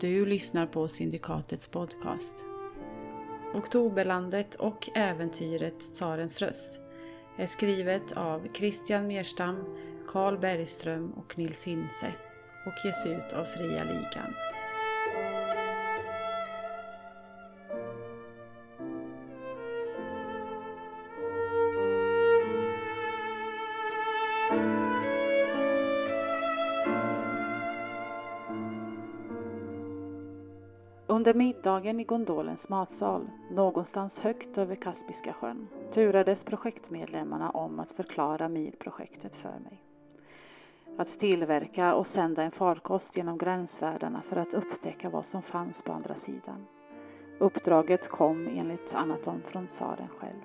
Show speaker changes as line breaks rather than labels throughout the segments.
du lyssnar på Syndikatets podcast. Oktoberlandet och äventyret Tsarens röst är skrivet av Christian Merstam, Carl Bergström och Nils Hintze och ges ut av Fria Ligan. Under middagen i gondolens matsal, någonstans högt över Kaspiska sjön, turades projektmedlemmarna om att förklara MIR-projektet för mig. Att tillverka och sända en farkost genom gränsvärdena för att upptäcka vad som fanns på andra sidan. Uppdraget kom enligt Anatom från tsaren själv.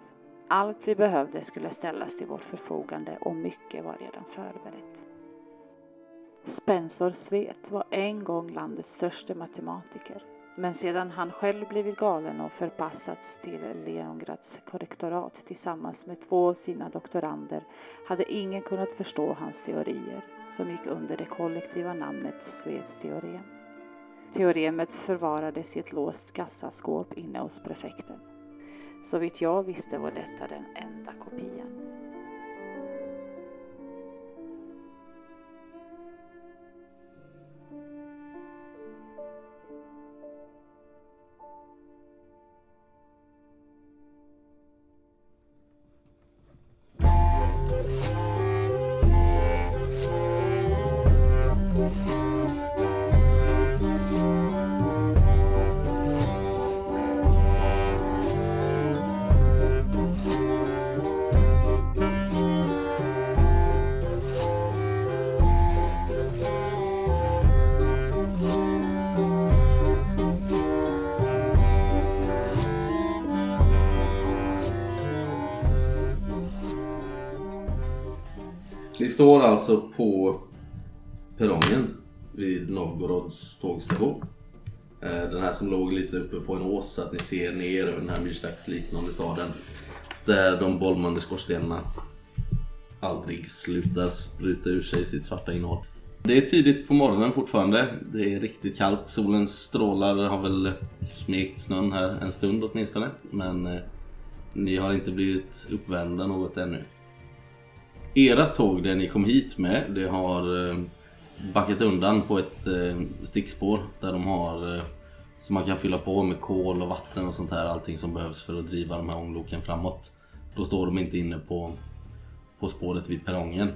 Allt vi behövde skulle ställas till vårt förfogande och mycket var redan förberett. Spencer Svet var en gång landets störste matematiker. Men sedan han själv blivit galen och förpassats till Leongrads korrektorat tillsammans med två av sina doktorander hade ingen kunnat förstå hans teorier som gick under det kollektiva namnet Svets teorem. Teoremet förvarades i ett låst kassaskåp inne hos prefekten. Så vitt jag visste var detta den enda kopian.
Ni står alltså på perrongen vid Novgorods tågstation. Eh, Den här som låg lite uppe på en ås så att ni ser ner över den här myrstacksliknande staden. Där de bolmande skorstenarna aldrig slutar spruta ur sig sitt svarta innehåll. Det är tidigt på morgonen fortfarande. Det är riktigt kallt. Solens strålar har väl smekt snön här en stund åtminstone. Men eh, ni har inte blivit uppvärmda något ännu. Era tåg, det ni kom hit med, det har eh, backat undan på ett eh, stickspår där de har eh, som man kan fylla på med kol och vatten och sånt här. Allting som behövs för att driva de här ångloken framåt. Då står de inte inne på, på spåret vid perrongen.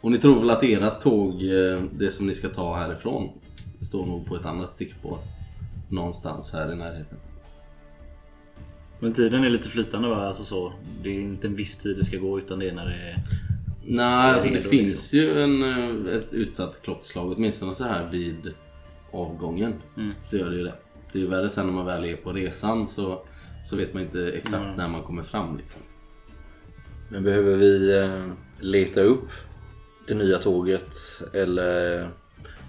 Och ni tror väl att era tåg, eh, det som ni ska ta härifrån, står nog på ett annat stickspår. Någonstans här i närheten.
Men tiden är lite flytande va? Alltså så. Det är inte en viss tid det ska gå utan det är när det är...
Nej, alltså det
redo,
finns ju en, eh, ett utsatt klockslag. Åtminstone så här vid avgången.
Mm.
Så gör det ju det. Det är ju värre sen när man väl är på resan så, så vet man inte exakt när man kommer fram. Liksom.
Men behöver vi eh, leta upp det nya tåget eller...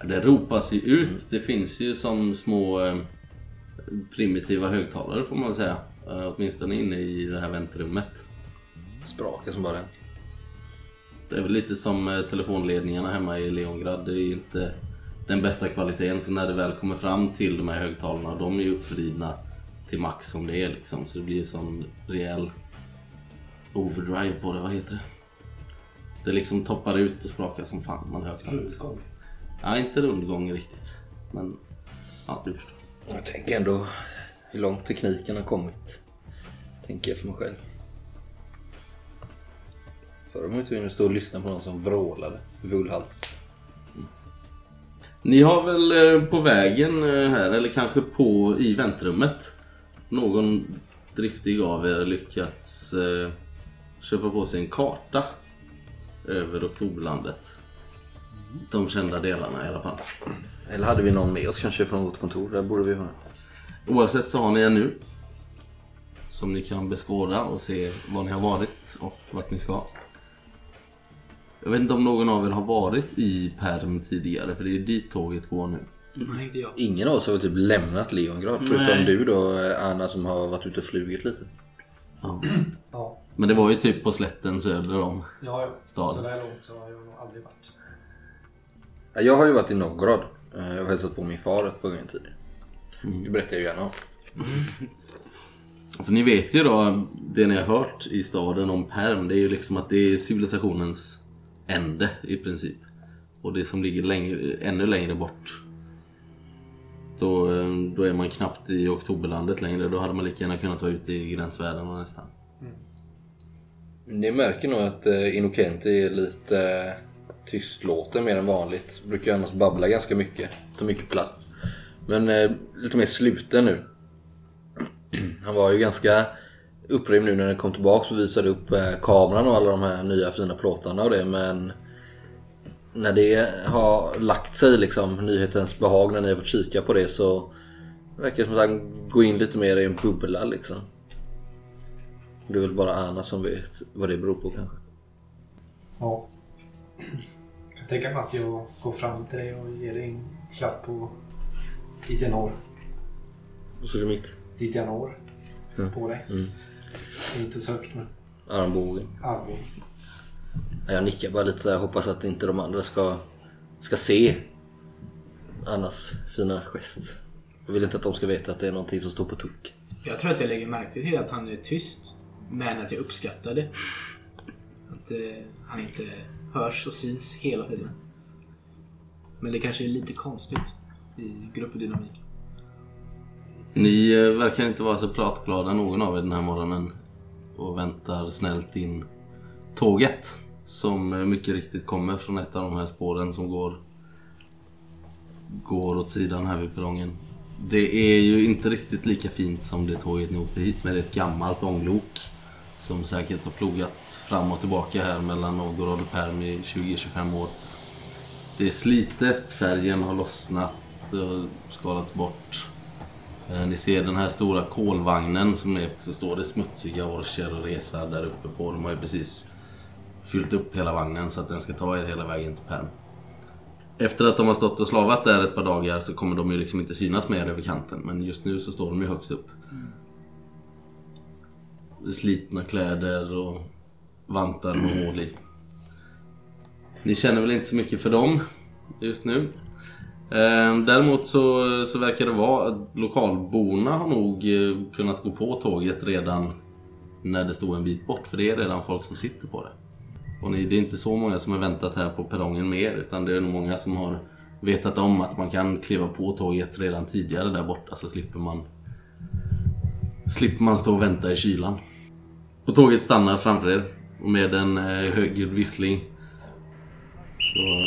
Det ropas ju ut. Det finns ju som små eh, primitiva högtalare får man väl säga. Eh, Åtminstone inne i det här väntrummet.
Spraka som liksom bara den.
Det är väl lite som eh, telefonledningarna hemma i Leongrad. Det är ju inte den bästa kvaliteten. Så när det väl kommer fram till de här högtalarna, de är ju uppvridna till max som det är liksom. Så det blir som rejäl overdrive på det. Vad heter det? Det liksom toppar ut och sprakar som fan. Man hör knappt. Rundgång? Ja, inte rundgång riktigt. Men ja, du förstår.
Jag tänker ändå hur långt tekniken har kommit. Tänker jag för mig själv. Förr var man ju tvungen att stå och lyssna på någon som vrålade. Vullhals.
Ni har väl eh, på vägen eh, här, eller kanske på i väntrummet, någon driftig av er lyckats eh, köpa på sig en karta över Oktoberlandet. De kända delarna i alla fall.
Eller hade vi någon med oss kanske från vårt kontor? Där borde vi ha den.
Oavsett så har ni en nu. Som ni kan beskåda och se var ni har varit och vart ni ska. Jag vet inte om någon av er har varit i Perm tidigare, för det är dit tåget går nu.
Nej, inte jag.
Ingen av oss har väl typ lämnat Leongrad? Förutom
Nej.
du då eh, Anna som har varit ute och flugit lite.
Ja.
Ja,
Men det var ju typ på slätten söder om.
ja, ja.
Stad.
Så där långt så har jag nog aldrig varit.
Ja, Jag har ju varit i Novgorod
Eh, Jag har hälsat på min far ett par gånger tidigare.
Mm.
Det berättar jag gärna om.
För ni vet ju då, det ni har hört i staden om Perm, det är ju liksom att det är civilisationens ände i princip. Och det som ligger längre, ännu längre bort, då, eh, då är man knappt i oktoberlandet längre. Då hade man lika gärna kunnat vara ute i gränsvärlden och nästan.
Ni märker nog att eh, Inokenti är lite eh, tystlåten mer än vanligt. Brukar annars babbla ganska mycket. Tar mycket plats. Men eh, lite mer sluten nu. Han var ju ganska upprymd nu när han kom tillbaka och visade upp eh, kameran och alla de här nya fina plåtarna och det men när det har lagt sig liksom, nyhetens behag när ni har fått kika på det så verkar det som att han går in lite mer i en bubbla liksom. Det är väl bara Anna som vet vad det beror på kanske.
Ja. Jag kan tänka mig att jag går fram till dig och ger dig en klapp på dit jag når.
Och så är det mitt.
Dit jag når. På dig. Det är Inte så högt men
Armbågen.
armbågen.
Ja, Jag nickar bara lite så här. Hoppas att inte de andra ska, ska se Annas fina gest. Jag vill inte att de ska veta att det är någonting som står på tok.
Jag tror att jag lägger märke till att han är tyst. Men att jag uppskattar det. Att eh, han inte hörs och syns hela tiden. Men det kanske är lite konstigt i gruppdynamik.
Ni eh, verkar inte vara så pratglada någon av er den här morgonen och väntar snällt in tåget som eh, mycket riktigt kommer från ett av de här spåren som går går åt sidan här vid perrongen. Det är ju inte riktigt lika fint som det tåget ni åkte hit med. Det är ett gammalt ånglok som säkert har plogat fram och tillbaka här mellan Novgorod och Perm i 20-25 år. Det är slitet, färgen har lossnat och skalats bort. Eh, Ni ser den här stora kolvagnen som är, så står det smutsiga orcher och resar där uppe på. De har ju precis fyllt upp hela vagnen så att den ska ta er hela vägen till Perm. Efter att de har stått och slavat där ett par dagar så kommer de ju liksom inte synas mer över kanten. Men just nu så står de ju högst upp. Slitna kläder och vantar med hål i. Ni känner väl inte så mycket för dem just nu? Ehm, Däremot så, så verkar det vara att lokalborna har nog eh, kunnat gå på tåget redan när det stod en bit bort. För det är redan folk som sitter på det. Och ni, det är inte så många som har väntat här på perrongen med er. Utan det är nog många som har vetat om att man kan kliva på tåget redan tidigare där borta. Så slipper man, slipper man stå och vänta i kylan. Och tåget stannar framför er. Och med en eh, högljudd vissling så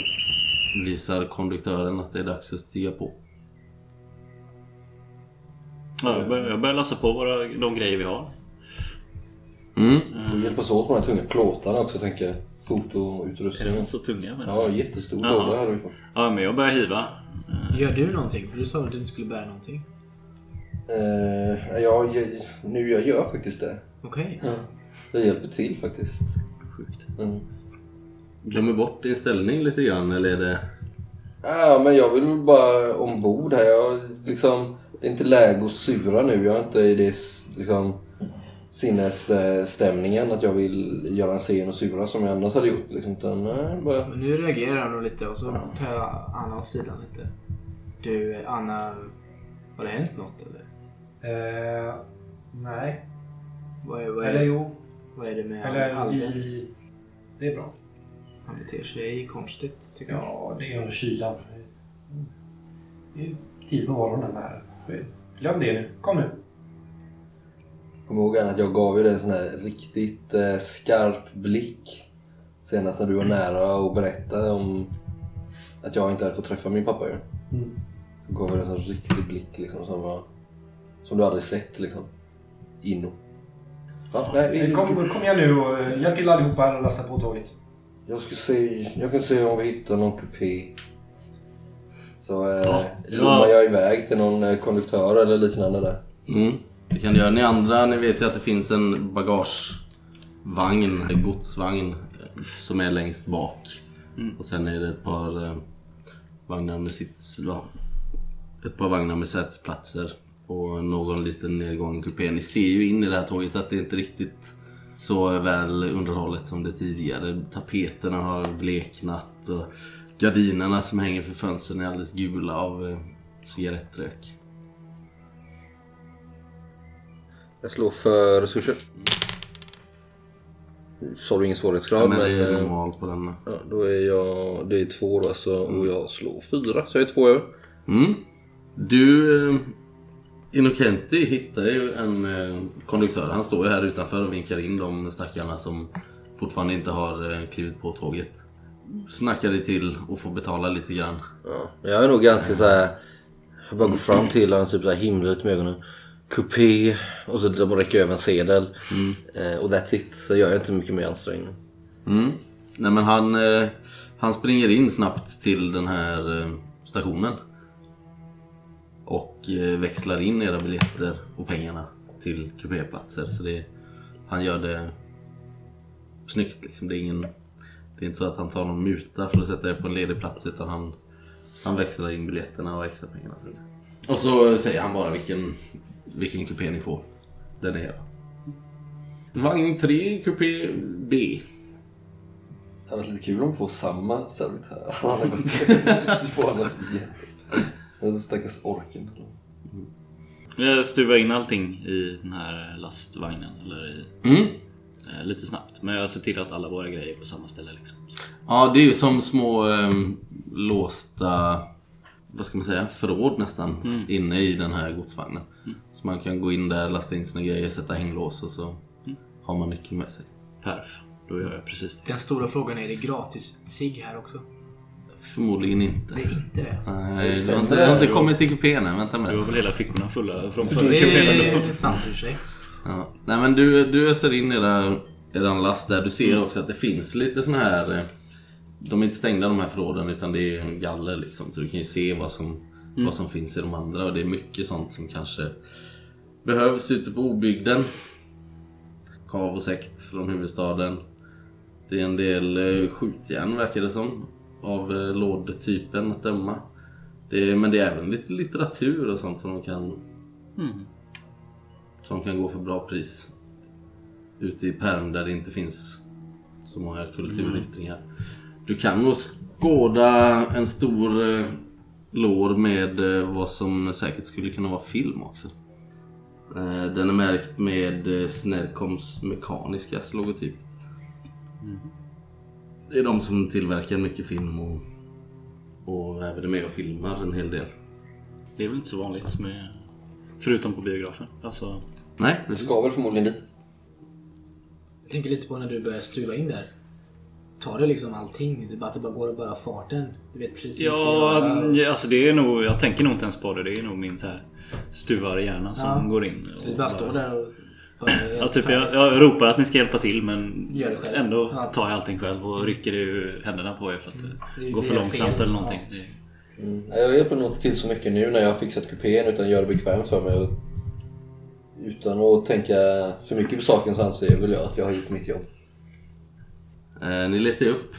visar konduktören att det är dags att stiga på.
Ja, jag, börjar, jag börjar läsa på våra, de grejer vi har.
Mm.
Vi får hjälpas åt med de här tunga plåtarna också tänker jag.
De är
Fotoutrustningen.
så tunga. Men...
Ja, jättestor
Jaha.
låda hade vi fått.
Ja, men jag börjar hiva.
Mm.
Gör du någonting? För du sa att du inte skulle bära någonting.
Eh, ja, jag, nu jag gör faktiskt det.
Okej.
Ja. Jag hjälper till faktiskt.
Sjukt.
Mm.
Glömmer bort din ställning lite grann eller är det...
Ja, men jag vill väl bara ombord här. Jag, liksom, det är inte läge att sura nu. Jag är inte i det liksom, sinnesstämningen att jag vill göra en scen och sura som jag annars hade gjort. Liksom, utan, nej, bara...
Men nu reagerar han nog lite och så tar jag Anna åt sidan lite. Du, Anna. Har det hänt något eller?
Eh, nej.
Vad är, vad
Eller
är,
jo.
vad är det med
Eller
Alden?
i... Det är bra.
Han beter sig konstigt tycker jag.
Ja, det är under kylan. Det är tid på morgonen här. Glöm det nu. Kom nu.
Kom ihåg Anna, att jag gav ju dig en sån här riktigt eh, skarp blick senast när du var nära och berättade om att jag inte hade fått träffa min pappa. Ju.
Mm.
Jag gav dig en sån riktig blick liksom, som, var, som du aldrig sett. Liksom. Inno. Ja, nej, vi-
Kom, kom igen nu och eh, hjälp till allihopa här och lasta på tåget.
Jag ska se, jag kan se om vi hittar någon kupé. Så eh,
Ja.
lommar jag iväg till någon eh, konduktör eller liknande där.
Mm. Det kan du göra. Ni andra, ni vet ju att det finns en bagagevagn, en godsvagn, eh, som är längst bak. Och sen är det ett par eh, vagnar med sits, ja, ett par vagnar med sätesplatser och någon liten nedgång i kupén. Ni ser ju in i det här tåget att det inte riktigt så väl underhållet som det tidigare. Tapeterna har bleknat och Gardinerna som hänger för fönstren är alldeles gula av eh, cigarettrök.
Jag slår för resurser. Sa du ingen svårighetsgrad?
men det är
eh,
normal på denna.
ja, då är jag... Det är två då alltså och jag slår fyra. Så jag är två över.
Mm. Du, eh, Innocenti hittar ju en eh, konduktör. Han står ju här utanför och vinkar in de stackarna som fortfarande inte har eh, klivit på tåget. Snackar dig till och får betala lite grann.
Ja, men jag är nog ganska så här. Jag bara går fram till honom typ så här himlar lite med ögonen. Coupé och så de räcker över en sedel. Eh, och that's it. Så gör jag inte mycket mer ansträngning.
Mm. Nej men han, eh, han springer in snabbt till den här eh, stationen. Och eh, växlar in era biljetter och pengarna till kupéplatser. Så det, han gör det snyggt liksom. Det är, ingen, det är inte så att han tar någon muta för att sätta er på en ledig plats utan han, han växlar in biljetterna och extra pengarna. Och så säger han bara vilken, vilken kupé ni får. Den är era. Vagn 3, kupé B.
Det hade varit lite kul om vi får samma servitör. Han hade gått till. Så får han oss igen. Den stackars orken.
Jag stuvar in allting i den här lastvagnen. Eller i,
Mm.
eh, lite snabbt. Men jag ser till att alla våra grejer är på samma ställe. Liksom.
Ja, det är ju som små ehm, låsta, vad ska man säga, förråd nästan inne i den här godsvagnen. Så man kan gå in där, lasta in sina grejer, sätta hänglås och så har man nyckeln med sig.
Perf. Då gör jag precis det.
Den stora frågan är, är det gratis cigg här också?
Förmodligen inte.
Det är inte det. alltså.
Nej, du har
Sen
inte,
där,
du har inte
jo.
kommit till kupén än, vänta med
Du har väl
det.
hela fickorna fulla från förra
Det är
kupén?
sant i och för sig.
Ja. Nej men du, du öser in era, eran last där. Du ser också att det finns lite såna här, eh, de är inte stängda de här förråden utan det är ju galler liksom. Så du kan ju se vad som, vad som finns i de andra och det är mycket sånt som kanske behövs ute på obygden. Kav och sekt från huvudstaden. Det är en del eh, skjutjärn verkar det som. Av eh, lådtypen att döma. Det är, men det är även lite litteratur och sånt som de kan som kan gå för bra pris. Ute i Perm där det inte finns så många kulturyttringar. Du kan nog skåda en stor eh, lår med eh, vad som säkert skulle kunna vara film också. Eh, den är märkt med eh, Snercoms Mekaniskas logotyp. Det är de som tillverkar mycket film och, och även är med och filmar en hel del.
Det är väl inte så vanligt med... Förutom på biografen. Alltså,
Nej, precis.
Ska väl förmodligen dit.
Jag tänker lite på när du börjar stuva in där. Tar du liksom allting? Det är bara att det bara går och bara farten? Du vet precis vad du ska
ja,
göra.
alltså det är nog... Jag tänker nog inte ens på det. Det är nog min så här stuvare hjärna som
Ja.
går in.
Så vi bara står där och...
Ja, typ, jag, jag ropar att ni ska hjälpa till men
Gör det själv.
ändå
Ja. Mm.
tar jag allting själv och rycker ur händerna på er för att det,
Det
går för
blir
långsamt
fel.
eller någonting. Det,
Nej, jag hjälper nog inte till så mycket nu när jag har fixat kupén utan gör det bekvämt för mig. Utan att tänka för mycket på saken så anser väl jag att jag har gjort mitt jobb.
Eh, ni letar ju upp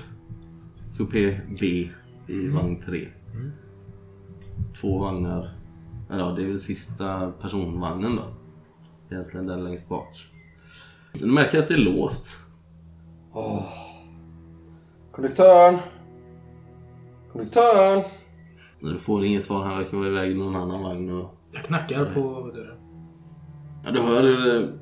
kupé B i vagn 3. Två vagnar. Eller ja, det är väl sista personvagnen då. Egentligen den längst bak. Du märker att det är låst.
Konduktören! Konduktören!
Men Du får inget svar. Han verkar vara iväg i någon annan vagn. Och...
Jag knackar på dörren.
Ja, du hör hur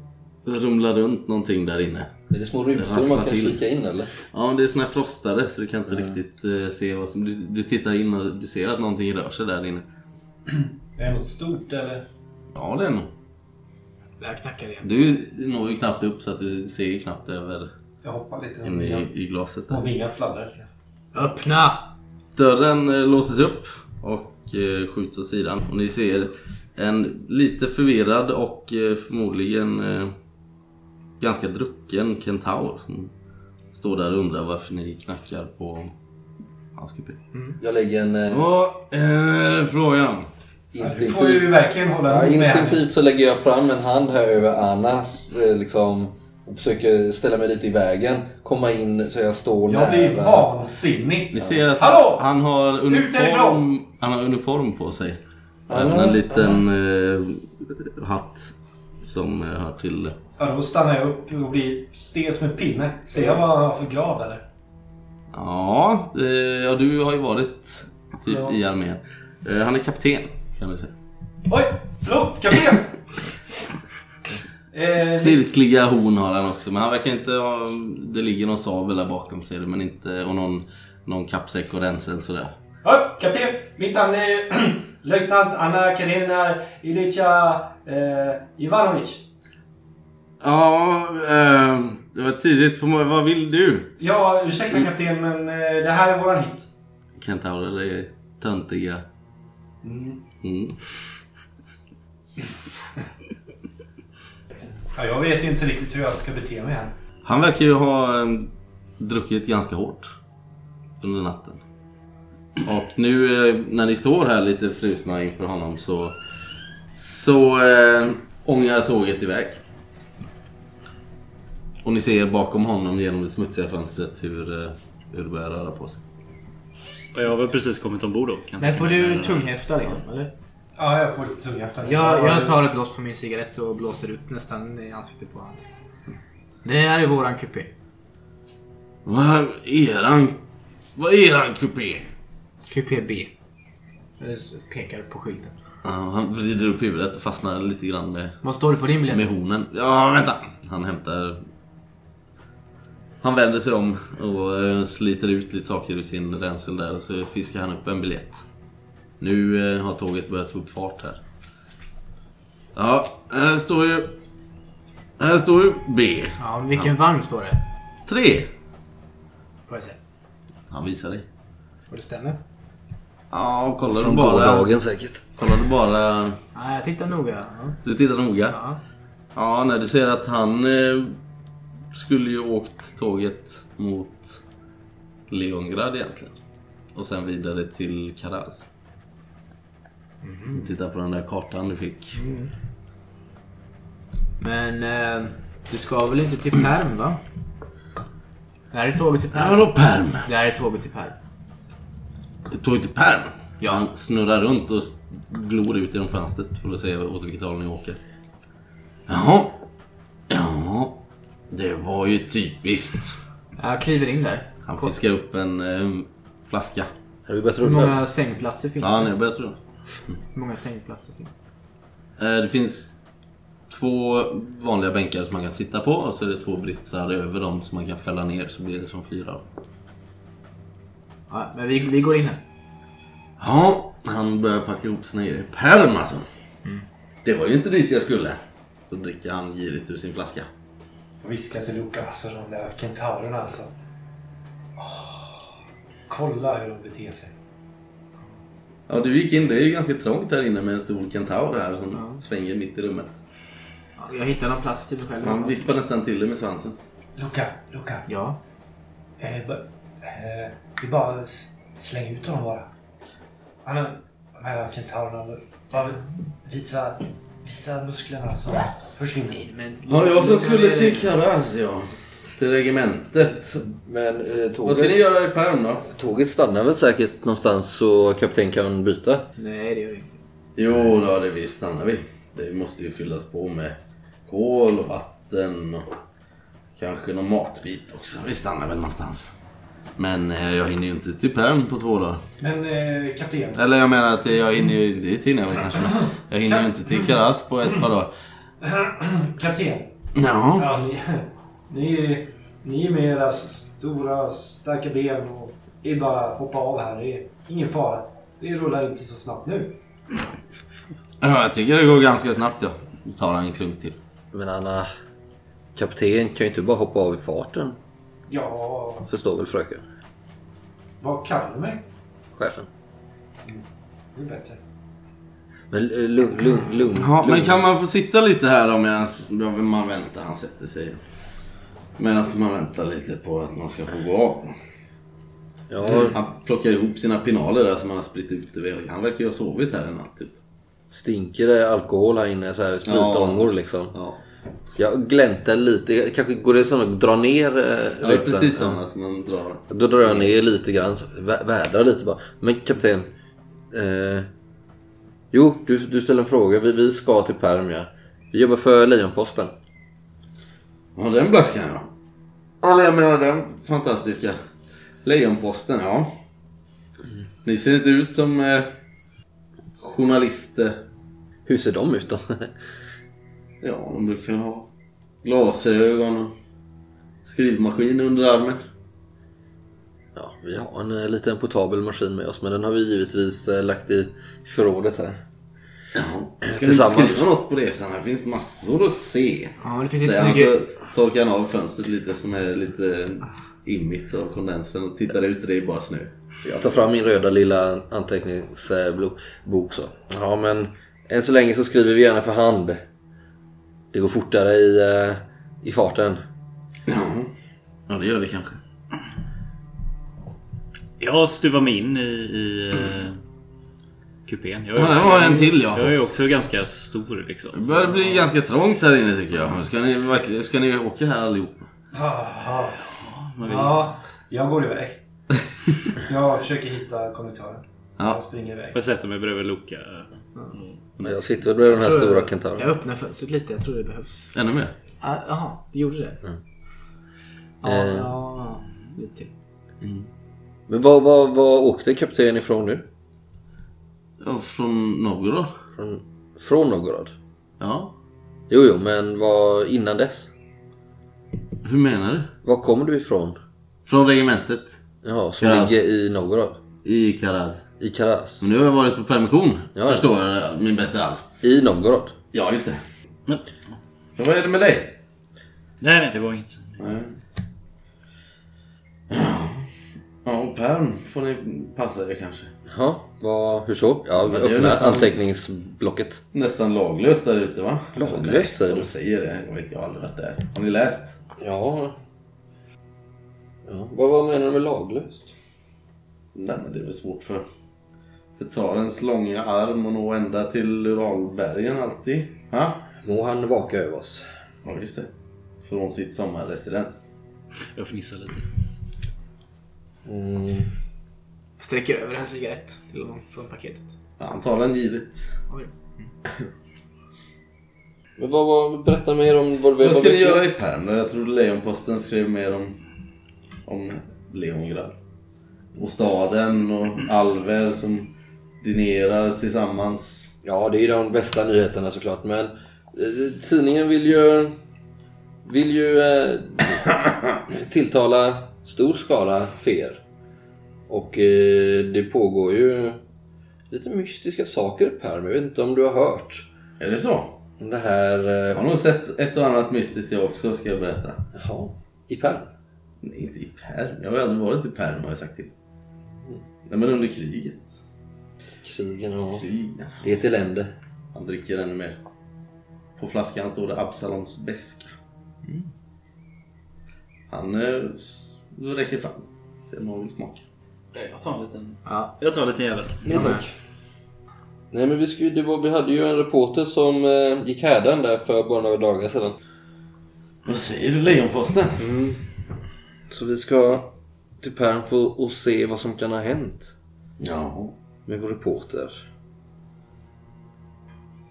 det rumlar runt någonting där inne.
Är det små rutor
Rasslar
man kan
till.
kika in eller?
Ja, men det är såna här frostade så du kan inte riktigt eh, se vad som... Du, du tittar in och du ser att någonting rör sig där inne.
Är det något stort eller?
Ja, det är nog.
Jag knackar igen.
Du når ju knappt upp så att du ser ju knappt över
Jag hoppar lite.
in i, i glaset där.
Och vingar fladdrar lite grann.
Öppna!
Dörren eh, låses upp och eh, skjuts åt sidan. Och ni ser en lite förvirrad och eh, förmodligen eh, ganska drucken kentaur som står där och undrar varför ni knackar på hans kupé.
Mm.
Jag lägger en eh,
Vad är frågan?
Ja, Du får ju
instinktiv...
verkligen hålla
Ja,
emot med här.
instinktivt så lägger jag fram en hand här över Annas eh, liksom, och försöker ställa mig lite i vägen. Komma in så jag står
Jag blir
nära.
vansinnig.
Ni ser att
Hallå!
han har, uniform,
härifrån!
han har uniform på sig.
Anna,
Även en liten eh, hatt som eh, hör till
Ja, då stannar jag upp och blir stel som en pinne. Ser jag vad han har för grad eller?
Ja, eh, ja du har ju varit typ
Ja.
i armén. Eh, han är kapten kan vi säga.
Oj! Förlåt! Kapten! eh,
Snirkliga horn har han också men han verkar inte ha... Det ligger någon sabel där bakom ser du men inte... Och någon, någon kappsäck och ränsel sådär.
hej, kapten! Mitt namn är löjtnant Anna Karenina Ilitja eh, Ivanovic.
Ja, eh, det var tidigt på morgonen. Vad vill du?
Ja, ursäkta
Mm.
kapten, men eh, det här är våran hit.
Kentaurer är töntiga.
Mm.
Mm.
Ja, jag vet ju inte riktigt hur jag ska bete mig här.
Han verkar ju ha eh, druckit ganska hårt under natten. Och nu eh, när ni står här lite frusna inför honom så, så eh, ångar tåget iväg. Och ni ser bakom honom genom det smutsiga fönstret hur, eh, hur det börjar röra på sig.
Och jag har väl precis kommit ombord då. kan jag
Men
tänka
får
mig.
du tunghäfta liksom, eller?
Ja, jag får lite tunghäfta nu.
Jag, jag tar ett blås på min cigarett och blåser ut nästan i ansiktet på honom. Liksom. Det här är våran kupé.
Vad är eran... Vad är eran kupé?
Kupé B. Eller s- pekar på skylten.
Ja, han vrider upp huvudet och fastnar lite grann med
Vad står det på din biljett?
Med hornen. Ja, vänta. Han hämtar... Han vänder sig om och eh, sliter ut lite saker ur sin ränsel där och så fiskar han upp en biljett. Nu eh, har tåget börjat få upp fart här. Ja, här står ju... Här står ju B.
Ja, vilken varm står det?
3.
Får jag se.
Han visar dig.
Och det stämmer?
Ja, kollar du
Från
bara...
gårdagen säkert.
Kollar du bara...
Ja, jag tittar noga. Ja.
Du tittar noga.
Ja.
Ja, när du ser att han eh, skulle ju åkt tåget mot Leongrad egentligen. Och sen vidare till Karaz.
Mhm.
Titta på den där kartan du fick.
Mm. Men eh, du ska väl inte till Perm va? Det här är tåget till
Ja,
Perm.
då Perm!
Det här är tåget till Perm.
Tåget till Perm!
Ja.
Han snurrar runt och s- glor ut genom fönstret för att se åt vilket håll ni åker. Jaha. Ja. Det var ju typiskt.
Jag kliver in där.
Han
Kolla.
fiskar upp en eh, flaska.
Har vi börjat
Hur
rulla?
många sängplatser finns
Ja, han
det?
är börjat rulla.
Hur många sängplatser finns det?
Eh, Det finns två vanliga bänkar som man kan sitta på och så är det två britsar över dem som man kan fälla ner så blir det som fyra.
Ja, men vi, vi går in här.
Ja, han börjar packa ihop sina grejer. Pärm alltså! Det var ju inte dit jag skulle. Så dricker han girigt ur sin flaska.
Jag viskar till Luca, alltså de där kentaurerna alltså. Åh, kolla hur de beter sig.
Ja, du gick in. Det är ju ganska trångt här inne med en stor kentaur här som
Ja.
svänger mitt i rummet.
Ja, jag hittar någon plats till mig själv.
Han vispar nästan till dig med svansen.
Luca, Luca.
Ja.
Eh, ba- eh, vi bara s- slänger ut honom bara. Han, har- de här kentaurerna, bara visa, visa musklerna så försvinner.
Nej, men...
Ja, jag som
Låt mig
skulle
ner
till
den.
Karaz, ja. Till regementet.
Men eh,
Vad ska ni
tåget,
göra i Pärm då?
tåget stannar väl säkert någonstans så kapten kan byta?
Nej, det gör det inte.
Jo, då det visst stannar vi. Det måste ju fyllas på med kol och vatten och kanske någon matbit också. Vi stannar väl någonstans. Men eh, jag hinner ju inte till Perm på två dagar.
Men eh, kapten,
Eller jag menar att jag hinner ju... Det hinner jag väl kanske men Jag hinner ju inte till Karas på ett par dagar.
kapten.
Ja.
Ja, ni, ni, ni med era stora starka ben och det är bara att hoppa av här. Det är ingen fara. Det rullar inte så snabbt nu.
ja, jag tycker det går ganska snabbt ja. Då tar han en klunk till.
Men Anna, kapten kan ju inte bara hoppa av i farten.
Ja,
Förstår väl fröken?
vad kallar du mig?
Chefen.
Det är bättre.
Men eh, lugn, lugn, lugn.
Ja, men
lugn.
kan man få sitta lite här då medan man väntar? Han sätter sig. Medan man väntar lite på att man ska få gå av.
Ja,
Han plockar ihop sina pinaler där som han har spritt ut över hela- Han verkar ju ha sovit här en natt typ.
stinker det alkohol här inne? Så här spritångor liksom.
Ja,
Jag gläntar lite. Kanske går det som att dra ner eh,
ja det är
rutan?
precis sådana som man drar.
Då drar jag ner lite grann, så vä- vädrar lite bara. Men kapten. Eh, jo, du, du ställer en fråga. Vi, vi ska till Perm ja. Vi jobbar för Lejonposten.
Ja, den blaskan ja. Eller jag menar den fantastiska Lejonposten, ja. Ni ser inte ut som eh, journalister.
Hur ser de ut då?
Ja, de brukar ha glasögon och skrivmaskin under armen.
ja, vi har en eh, liten portabel maskin med oss men den har vi givetvis eh, lagt i förrådet här.
Ska ni
Tillsammans.
skriva något på resan? Här finns massor att se.
Ja, det finns inte
Säger
så
han
mycket...
så torkar han Alltså, av fönstret lite som är lite immigt av kondensen och tittar ut och det är bara snö.
Jag tar fram min röda lilla anteckningsbok så. Ja men än så länge så skriver vi gärna för hand. Det går fortare i, eh, i farten.
Ja.
Ja, det gör det kanske. Jag stuvar mig in i, i eh, kupén. Jag är-
Ja, det var en till, ja.
Jag är också ganska stor liksom.
Det börjar bli ganska trångt här inne tycker jag. Ska ni, verkligen- ska ni åka här allihop?
Ah, Ja, jag går iväg. Jag försöker hitta konduktören.
Ja.
Jag springer iväg.
Jag sätter mig bredvid Loka.
Jag sitter bredvid den här
Jag tror-
stora
Jag
kentauren.
öppnar fönstret lite, jag tror det behövs.
Ännu mer?
Ah, Jaha, du gjorde det? Ja,
Eh.
ja, lite till.
Men var, var, var åkte kapten ifrån nu?
Ja, från Novgorod?
Från, från Novgorod?
Ja.
Jo, jo, men var innan dess?
Hur menar du?
Var kommer du ifrån?
Från regementet
Jaha, som
Karas.
ligger i Novgorod?
i Karaz.
I Karas?
Men nu har jag varit på permission.
Ja.
Förstår jag, min bästa alf.
I Novgorod?
Ja, just det.
Men,
Men vad är det med dig?
nej, nej, det var inget.
Nej. Ja. Ja, och perm får ni passa er kanske.
Jaha, vad, hur så? Ja, vi
det är ju
öppnar
nästan-
anteckningsblocket.
Nästan laglöst där ute va?
Laglöst, säger
De
du?
säger det. Jag vet, jag har aldrig varit där. Har ni läst?
Ja. ja. Vad, vad menar du med laglöst?
Nej, men det är väl svårt för, för tsarens långa arm och nå ända till Uralbergen alltid. Ha?
Må han vaka över oss.
Ja, just det. Från sitt sommarresidens.
Jag fnissar lite.
Mm.
Jag sträcker över en cigarett till honom från paketet.
Ja, han tar den givet.
Oj.
Men vad, vad, berätta mer om vad du
Vad
vad
ska ni
vet du?
göra i Pärn då? Jag trodde Lejonposten skrev mer om, om Leongrad. Och staden och alver som dinerar tillsammans.
Ja, det är ju de bästa nyheterna såklart, men eh, tidningen vill ju vill ju eh, tilltala stor skala fer. Och eh, det pågår ju lite mystiska saker här, men jag vet inte om du har hört
Är det så?
om det här...
Jag
Eh,
har nog sett ett och annat mystiskt jag också ska jag berätta.
jaha, i Pärm?
Nej, inte i Perm. Jag har aldrig varit i Perm har jag sagt till. Nej, men under kriget.
Krigen och...
Krigen.
Det är ett elände.
Han dricker ännu mer. På flaskan står det Absalons beska. Mm. Han eh, s- räcker fram. Se om någon vill smaka.
Jag tar en liten.
Ja,
Jag tar en liten jävel.
jag med.
Nej men vi, skulle, det var, vi hade ju en reporter som eh, gick härdan där för bara några dagar sedan.
Vad säger du Lejonposten?
Så vi ska till Pärm för att se vad som kan ha hänt
Ja.
med vår reporter.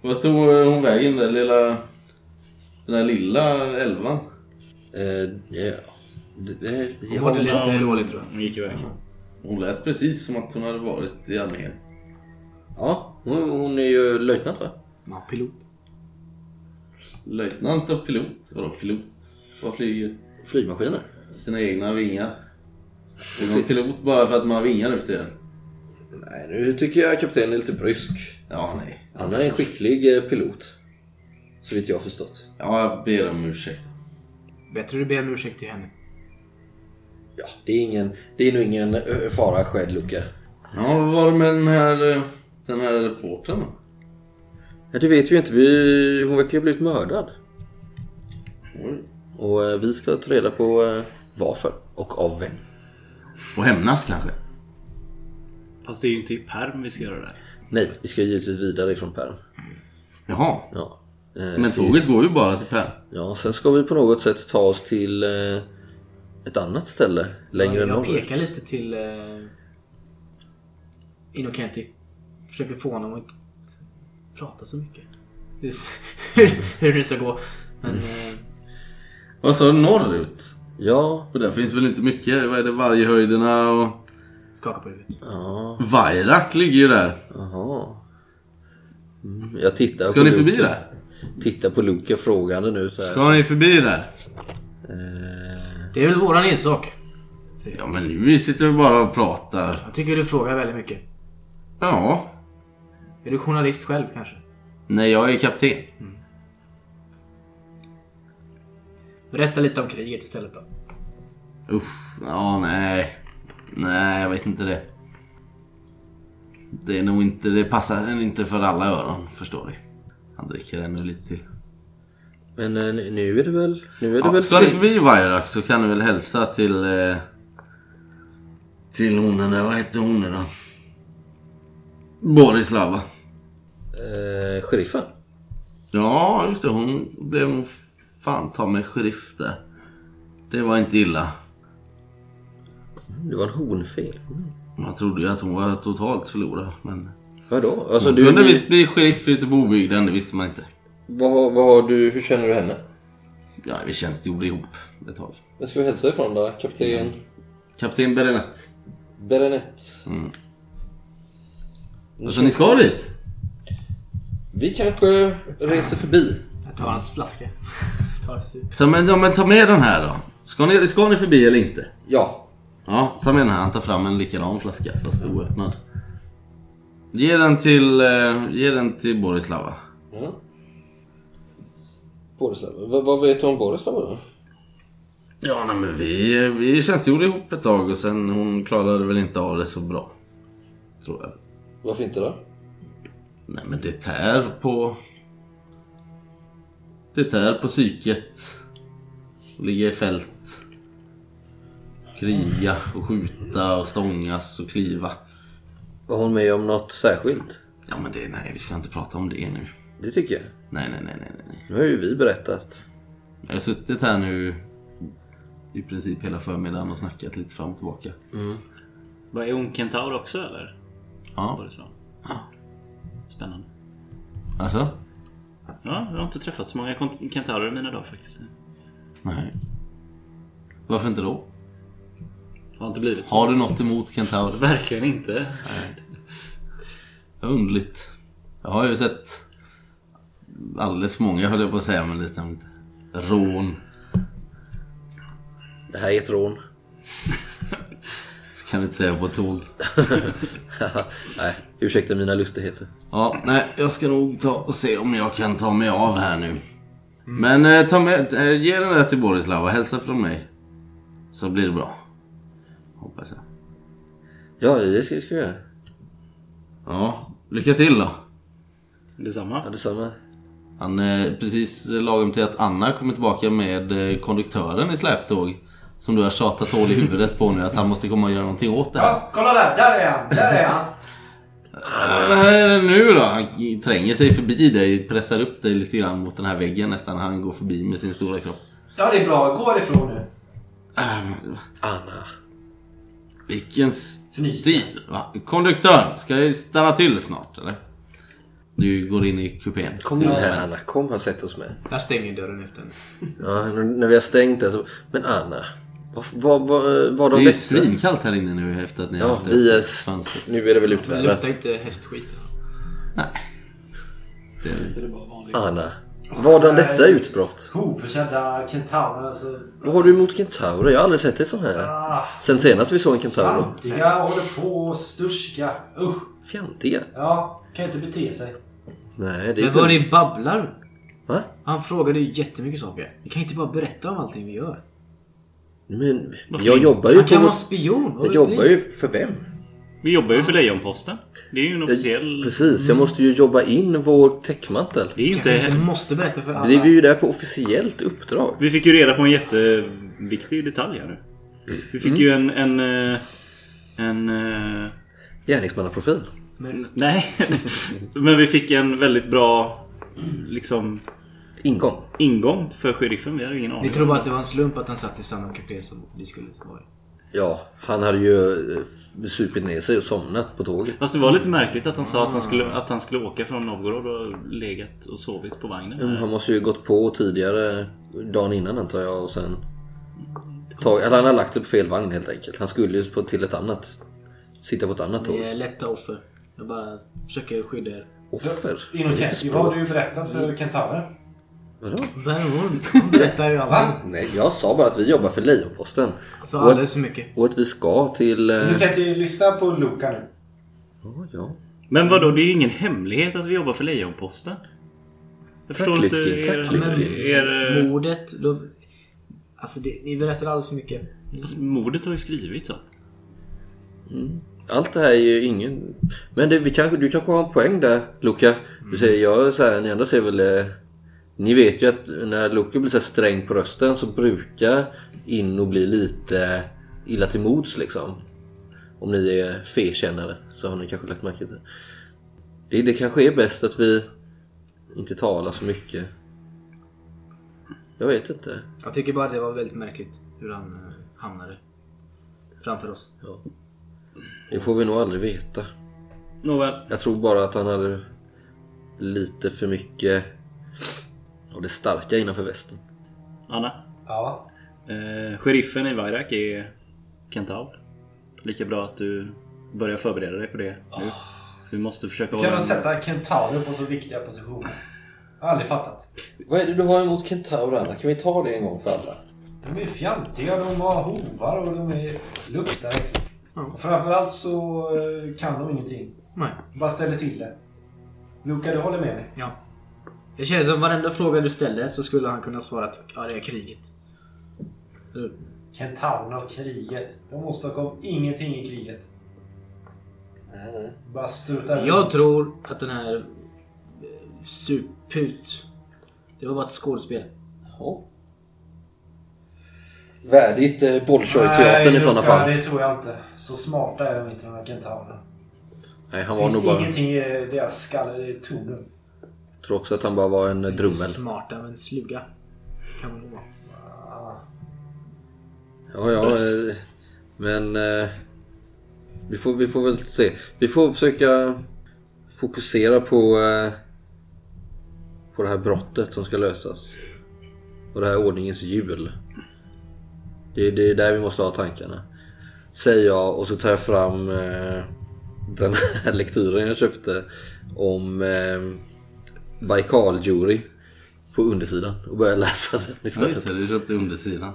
Vad tog eh, hon vägen den lilla... Den där lilla elvan?
Eh, ja. Det, det,
Jag
ja.
mådde lite dåligt tror jag.
Hon gick iväg.
Hon lät precis som att hon hade varit i armén.
ja hon, hon är ju löjtnant va?
Ja, pilot.
Löjtnant och pilot. Vadå pilot? Vad flyger?
Flygmaskiner.
Sina egna vingar. Är man pilot bara för att man har vingar nu för tiden?
Nej nu tycker jag kaptenen är lite brysk.
Ja, nej.
Han är en skicklig eh, pilot. Så vitt jag har förstått.
Ja, jag ber om ursäkt.
Bättre du ber om ursäkt till henne.
Ja, det är, ingen, det är nog ingen eh, fara skedd Luca.
Ja, vad var det med den här, eh, den här reportern då?
Ja, det vet vi ju inte. Vi, hon verkar ju ha blivit mördad.
Oj.
Och eh, vi ska ta reda på eh, varför och av vem.
Och hämnas kanske?
Fast det är ju inte i perm vi ska göra det. här.
Nej, vi ska givetvis vidare ifrån Pärm.
Jaha.
Ja. Eh,
Men
till-
tåget går ju bara till Pärn.
Ja, sen ska vi på något sätt ta oss till eh, ett annat ställe längre
jag
norrut.
pekar lite till eh, Inokenti. Försöker få honom att inte prata så mycket. Det är s- Hur det nu ska gå. Men eh,
Vad sa du? Norrut?
Ja.
Och där finns väl inte mycket. Vad är det? Varghöjderna och...
Skaka på huvudet.
Ja.
Vajrak ligger ju där.
Jaha. Mm, Jag tittar
Ska
på
ni förbi
Luke.
där?
Tittar på Luke frågande nu så här.
Ska ni förbi där?
Eh,
Det är väl våran ensak. Säger
Ja
jag.
men nu sitter vi bara och pratar.
jag tycker du frågar väldigt mycket.
Ja.
Är du journalist själv kanske?
Nej, jag är kapten.
Berätta lite om kriget istället då.
Usch, ja nej. Nej, jag vet inte det. Det är nog inte, det passar inte för alla öron, förstår du. Han dricker ännu lite till.
Men eh, nu är det väl... Nu är det
Ja,
väl
ska ni
fri-
förbi Vajrak så kan du väl hälsa till... Eh, till hon den där, vad heter hon nu då? Borislava.
Eh, sheriffen?
Ja, just det. Hon blev nog fan ta mig sheriff där. Det var inte illa.
Det var en honfe.
Man trodde ju att hon var totalt förlorad. Men...
Vadå? Alltså
Du
du...
kunde
ni-
Mm. visst bli sheriff ute på obygden, det visste man inte.
Vad, har- vad har du... Hur känner du henne?
Ja, vi tjänstgjorde ihop ett tag.
Vem ska vi hälsa ifrån då? Kapten
Kapten Berenett.
Berenett?
Mm. Alltså ni ska dit?
Vi kanske reser förbi.
Jag tar hans flaska. tar en sup.
Ta med, ja, men ta med den här då. Ska ni, ska ni förbi eller inte?
Ja.
Ja, ta med den här. Han tar fram en likadan flaska, fast oöppnad. Ge den till, eh, ge den till Borislava.
ja. Borislav. Vad, vad vet du om Borislav då?
Ja, nej, men vi, vi tjänstgjorde ihop ett tag och sen hon klarade väl inte av det så bra. Tror jag.
Varför inte då?
Nej, men det tär på... Det tär på psyket. Ligga i fält. Kriga och skjuta och stångas och kliva.
Var hon med om något särskilt?
Ja, men det... Nej, vi ska inte prata om det nu.
Det tycker jag.
Nej, nej, nej, nej, nej, nej.
Nu har ju vi berättat.
Jag har suttit här nu i princip hela förmiddagen och snackat lite fram och tillbaka.
Vad är hon kentaur också eller?
Ja,
Boleslav? Spännande.
alltså?
Ja, jag har inte träffat så många kont- kentaurer i mina dagar faktiskt.
Nej. Varför inte då?
Det har inte blivit så.
Har du något emot kentaurer?
Verkligen inte.
Det var underligt. Jag har ju sett alldeles för många höll jag på att säga men det stämmer inte. Rån.
Det här är ett rån.
Kan du inte säga på ett tåg.
Nej, ursäkta mina lustigheter.
Ja, nej, jag ska nog ta och se om jag kan ta mig av här nu. Men eh, ta med, eh, ge den där till Borislava. Hälsa från mig. Så blir det bra. Hoppas jag.
Ja, det ska ska vi göra.
Ja, lycka till då.
Ja,
Detsamma.
detsamma.
Han eh, precis lagom till att Anna kommer tillbaka med eh, konduktören i släptåg. Som du har tjatat hål i huvudet på nu att han måste komma och göra någonting åt det här.
Ja, kolla där! Där är han! Där är han!
Vad är det Eh, nu då? Han tränger sig förbi dig, pressar upp dig lite grann mot den här väggen nästan. Han går förbi med sin stora kropp.
Ja, det är bra. Gå ifrån nu.
Äh,
Anna.
vilken
Fnysa.
stil! Va? Konduktören, ska jag stanna till snart eller? Du går in i kupén.
Kom in här Anna, kom och sätt oss med.
Jag stänger dörren efter henne.
Ja, när- när vi har stängt där så... Men Anna. Vad var, var, var
Det är
de
ju
väckta?
svinkallt här inne nu efter att ni har
Ja,
haft
vi är...
ett fönster.
Nu är det väl
Det
utvädrat.
luktar inte hästskit.
Nej. Det är...
Anna. Vadan detta utbrott?
Oförsedda kentaurer. Alltså,
Vad har du emot kentaurer? Jag har aldrig sett det sån här.
ah,
Sen senast vi såg en kentaur.
fantiga håller på och sturska. Usch!
Fjantiga.
Ja, kan ju inte bete sig.
Nej, det är
Men vad
väl-
ni babblar.
Va?
Han frågade ju jättemycket saker. Ni kan inte bara berätta om allting vi gör.
Men
Varför
jag
inte?
jobbar ju
Han kan
på...
vara spion. vad
Jag
vet
jobbar
vi?
ju för vem?
Vi jobbar ju för Lejonposten. Det är ju en officiell...
Precis, jag måste ju jobba in vår täckmantel.
Det är ju
Kanske inte
inte...
måste berätta för alla.
Det är vi ju där på officiellt uppdrag.
Vi fick ju reda på en jätteviktig detalj här nu. Vi fick ju en... En... eh, en eh,
Gärningsmannaprofil.
nej. Men vi fick en väldigt bra... Liksom...
Ingång.
Ingång för sheriffen. Vi hade ju ingen
Ni
aning.
tror bara att det var en slump att han satt i samma kupé som vi skulle vara i.
Ja, han hade ju eh, f- supit ner sig och somnat på tåget.
Fast det var lite märkligt att han sa att han skulle, att han skulle åka från Novgorod och legat och sovit på vagnen.
Mm, Han måste ju gått på tidigare dagen innan antar jag och sen... tag, eller han har lagt det på fel vagn helt enkelt. Han skulle ju på, till ett annat. Sitta på ett annat
Ni
tåg.
är lätta offer. Jag bara försöker skydda er.
Offer?
Inom
Vad är det för
Kenti, vad har
språk? Eh.
du berättat för kentaurer?
Vadå?
Men hon, hon berättar ju
Va?
alltid.
Nej, jag sa bara att vi jobbar för Lejonposten.
Så alldeles för mycket.
Och att vi ska till... eh,
Du kan inte lyssna på Luca nu.
Ja, ja.
Men vadå, det är ju ingen hemlighet att vi jobbar för Lejonposten. Jag förstår
Tack,
inte
Lytkin,
er...
tack,
men
Lytkin.
er, eh,
Mordet, då... Alltså det, ni berättar alldeles för mycket.
fast mordet har ju skrivits va?
Allt det här är ju ingen... Men det, vi kanske, du kanske har en poäng där, Luca. Du säger, jag är så här, ni andra ser väl... eh, Ni vet ju att när Luca blir så här sträng på rösten så brukar Inno bli lite illa till mods liksom. Om ni är fekännare så har ni kanske lagt märke till det. det. Det kanske är bäst att vi inte talar så mycket. Jag vet inte.
Jag tycker bara det var väldigt märkligt hur han eh, hamnade framför oss.
Ja. Det får vi nog aldrig veta.
Nåväl.
Jag tror bara att han hade lite för mycket av det starka innanför västen.
Anna.
Ja.
Eh, sheriffen i Vairak är Kentaur. Lika bra att du börjar förbereda dig på det nu. Du måste försöka
Kan de
en-
sätta kentaurer på så viktiga positioner? Jag har aldrig fattat.
Vad är det du har emot kentaurer Anna? Kan vi ta det en gång för alla?
De är fjantiga, de har hovar och de är luktar äckligt. Och framförallt så eh, kan de ingenting.
Nej.
De bara ställer till det. Luca, du håller med mig?
Ja. Det känns som varenda fråga du ställde så skulle han kunna svara att ja, det är kriget. Eller-
Kentaurerna och kriget. De åstadkom ingenting i kriget.
Nej, nej.
Bara strutar
Jag
runt.
tror att den här eh, suput, det var bara ett skådespel.
Jaha. Värdigt eh, Bolshoi-teatern i
Nej,
sådana
Luca,
fall.
Det tror jag inte. Så smarta är de inte de här kentaurerna.
Nej, han
Det
var
finns
nog bara...
ingenting i deras skallar. Det är tunnel.
Jag tror också att han bara var en eh, drummel.
Smart av en sluga. Kan man nog vara.
Ah.
Ja, ja. eh, Men... eh, Vi får, vi får väl se. Vi får försöka fokusera på... eh, På det här brottet som ska lösas. Och det här ordningens hjul. Det, det är där vi måste ha tankarna. Säger jag och så tar jag fram eh, den här lektyren jag köpte om eh, Baikal-jury på undersidan och börjar läsa den
Ja,
istället.
just det, du köpte undersidan.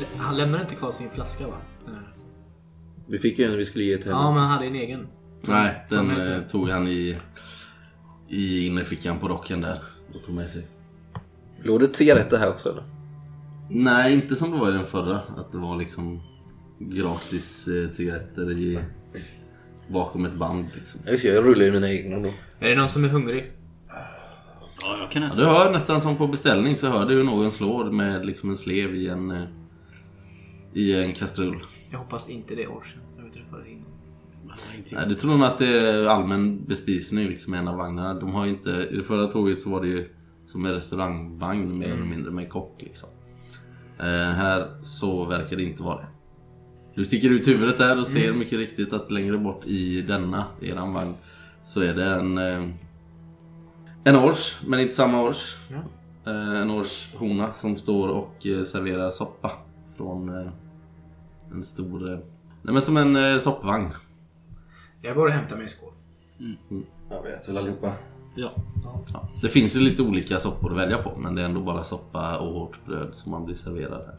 Lä- Han lämnar inte kvar sin flaska va? Den här.
Vi fick ju en vi skulle ge till henne.
Ja, men han hade en egen.
Nej, den
Ta med sig.
eh, tog han i, i innerfickan på rocken där och tog med sig.
Låg det cigaretter här också eller?
Nej, inte som det var i den förra. Att det var liksom gratis eh, cigaretter i, bakom ett band. Liksom.
Ja, just det, Jag rullar ju mina egna då.
Är det någon som är hungrig?
Ja, jag kan
Ja,
äta.
Du hör nästan som på beställning så hör du hur någon slår med liksom en slev i en, eh, i en kastrull.
Jag hoppas inte det är år sedan som vi träffade innan.
Nej, du tror nog att det är allmän bespisning liksom i en av vagnarna. De har ju inte, I det förra tåget så var det ju som en restaurangvagn mer eller mindre med kock. Liksom. Eh, här så verkar det inte vara det. Du sticker ut huvudet där och ser mycket riktigt att längre bort i denna, eran vagn, så är det en eh, en ors, men inte samma ors. Eh, en orshona som står och eh, serverar soppa från eh, en stor... Eh, nej men som en eh, soppvagn.
Jag går och hämtar mig en skål.
Jag vet väl allihopa.
Ja.
Ja, det finns ju lite olika soppor att välja på men det är ändå bara soppa och hårt bröd som man blir serverad här.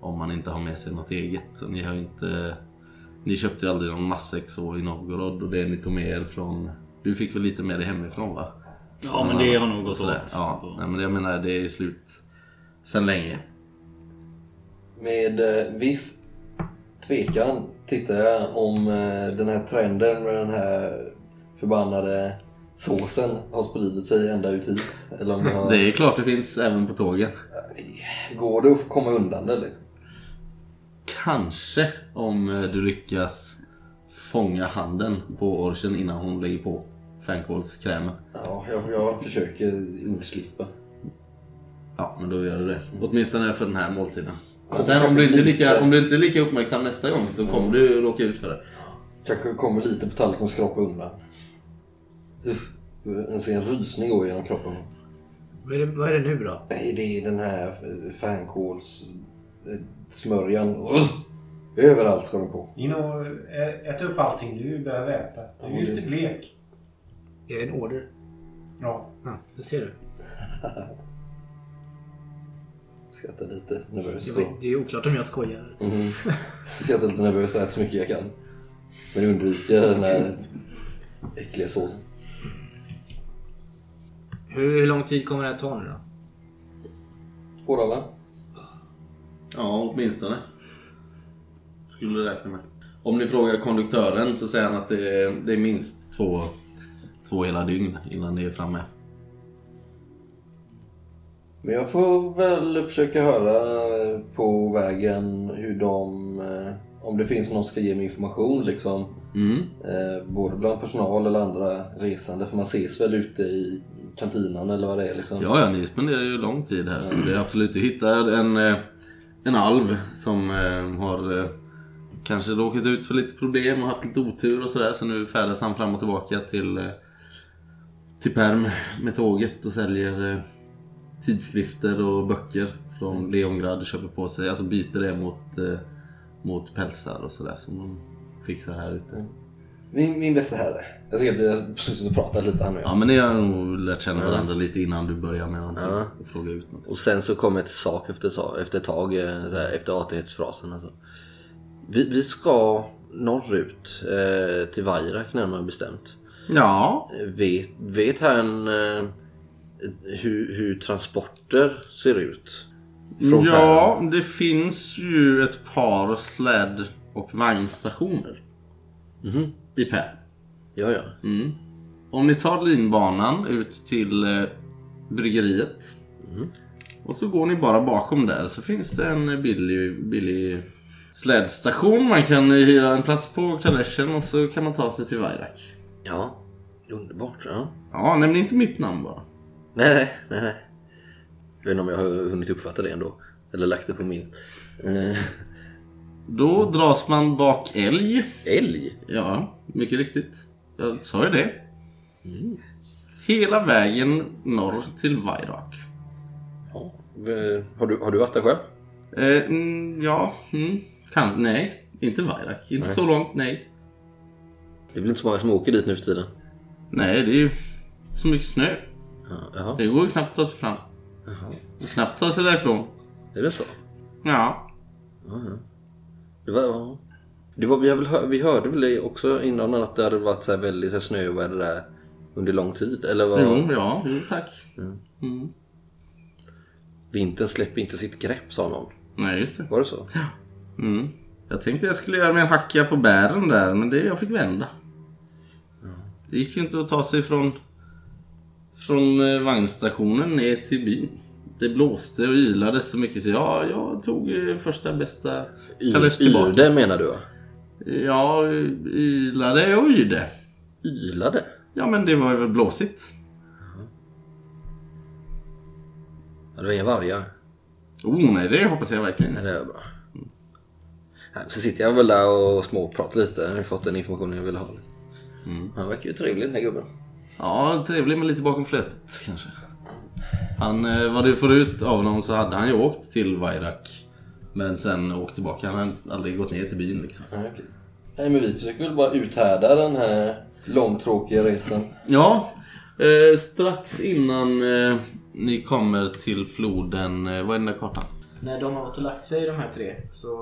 Om man inte har med sig något eget. Så ni har ju inte... Ni köpte ju aldrig någon matsäck så i Novgorod och det ni tog med er från... Du fick väl lite med dig hemifrån va?
ja, men det har nog gått
Sådär.
åt.
Ja, nej, men jag menar det är ju slut sen länge.
Med eh, viss tvekan tittar jag om eh, den här trenden med den här förbannade såsen har spridit sig ända ut hit. Eller om det har...
Det är klart det finns även på tågen.
Går det att komma undan det liksom?
Kanske om eh, du lyckas fånga handen på orchen innan hon lägger på fänkålskrämen.
Ja, jag, jag försöker undslippa.
Ja, men då gör du det. Åtminstone för den här måltiden.
Kom,
Men sen om
kanske
du, inte är
lite.
lika, om du inte är lika uppmärksam nästa gång så kommer du råka ut för det.
Kanske kommer lite på tallriken och skrapar undan. Uff, En sen rysning går genom kroppen.
Vad är det, vad är det nu då?
Nej, det är den här eh, fänkåls... eh, smörjan. Uff! Överallt ska den på.
In och ä- ät eh, upp allting du behöver äta. Du är
Ja,
ju
det-
lite blek.
Är det en order?
Ja.
Ja, det ser du.
Skrattar lite nervöst.
Det,
Och...
var, det är oklart om jag skojar.
Mhm. Skrattar lite nervöst och äter så mycket jag kan. Men undviker den här äckliga såsen.
Hur, hur lång tid kommer det här ta nu då?
Två dagar.
Ja, åtminstone. Skulle du räkna med. Om ni frågar konduktören så säger han att det är, det är minst två, två hela dygn innan ni är framme.
Men jag får väl försöka höra på vägen hur de... eh, Om det finns någon som ska ge mig information liksom.
Mm.
Eh, både bland personal eller andra resande. För man ses väl ute i kantinan eller vad det är liksom.
Ja, ja, ni spenderar ju lång tid här. Så det är absolut, du hittar en, eh, en alv som eh, har eh, kanske råkat ut för lite problem och haft lite otur och sådär. Så nu färdas han fram och tillbaka till, eh, till Perm med tåget och säljer eh, tidskrifter och böcker
Mm.
från Leongrad och köper på sig. Alltså byter det mot, eh, mot pälsar och sådär som de fixar här ute.
Mm. Min, min bästa herre. Jag tycker att vi har suttit och pratat lite här nu.
Ja men ni har nog lärt känna
Ja.
varandra lite innan du börjar med någonting
Ja.
och frågar ut något.
Och sen så kommer ett sak efter, sa- efter ett tag, eh, så här, efter artighetsfrasen. Alltså. Vi, vi ska norrut eh, till Vajrak närmare bestämt.
Ja,
Eh, Vet, vet han eh, hur, hur transporter ser ut? Från
ja, det finns ju ett par släd och vagnstationer
Mhm.
i Pär.
Ja, ja.
Mm. Om ni tar linbanan ut till eh, bryggeriet och så går ni bara bakom där så finns det en billig, billig slädstation. Man kan hyra en plats på kaleschen och så kan man ta sig till Vajrak.
Ja, underbart. Ja.
Ja, nämn inte mitt namn bara.
Nej, nej, nej, nej. Jag vet inte om jag har hunnit uppfatta det ändå. Eller lagt det på min. Eh,
Då dras man bak älg.
älg?
Ja, mycket riktigt. Jag sa ju det.
Mm.
Hela vägen norr till Vajrak.
Ja. V- Har du, har du varit där själv?
Eh, mm, ja, mm, kan, nej. Inte Vajrak. Inte
Nej.
så långt, nej.
Det är väl inte så många som åker dit nu för tiden?
Nej, det är ju så mycket snö.
Ja, jaha.
Det går ju knappt att ta sig fram.
Jaha.
Och knappt att ta sig därifrån.
Är det så?
Ja.
Ja, ja. Det var, ja. det var, vi, har väl hör, vi hörde väl det också innan att det hade varit så här väldigt så här snöoväder där under lång tid. Eller vad?
Jo, ja, jo, tack. Mm.
Vintern släpper inte sitt grepp sa någon.
Nej, just det.
Var det så?
Mm. Jag tänkte jag skulle göra min hacka på bären där, men det jag fick vända. Det gick ju inte att ta sig från, från eh, vagnstationen ner till byn. Det blåste och ylade så mycket så jag, jag tog eh, första bästa
Y-
kalesch tillbaka.
Yrde menar du va?
Ja, y- ylade och yrde.
Ylade?
Ja, men det var väl blåsigt.
Ja, det var inga vargar.
Oh nej, det hoppas jag verkligen.
Nej, det är bra. Nej, Så sitter jag väl där och småpratar lite. Jag har fått den informationen jag ville ha. Han verkar ju trevlig den här gubben.
Ja, trevlig men lite bakom flötet kanske. Han, eh, vad du får ut av honom så hade han ju åkt till Vajrak. Men sen åkt tillbaka. Han hade aldrig gått ner till byn liksom.
Nej, okej. Nej men vi försöker väl bara uthärda den här långtråkiga resan.
Ja, eh, strax innan eh, ni kommer till floden. Eh, vad är den där kartan?
När de har varit och lagt sig de här tre så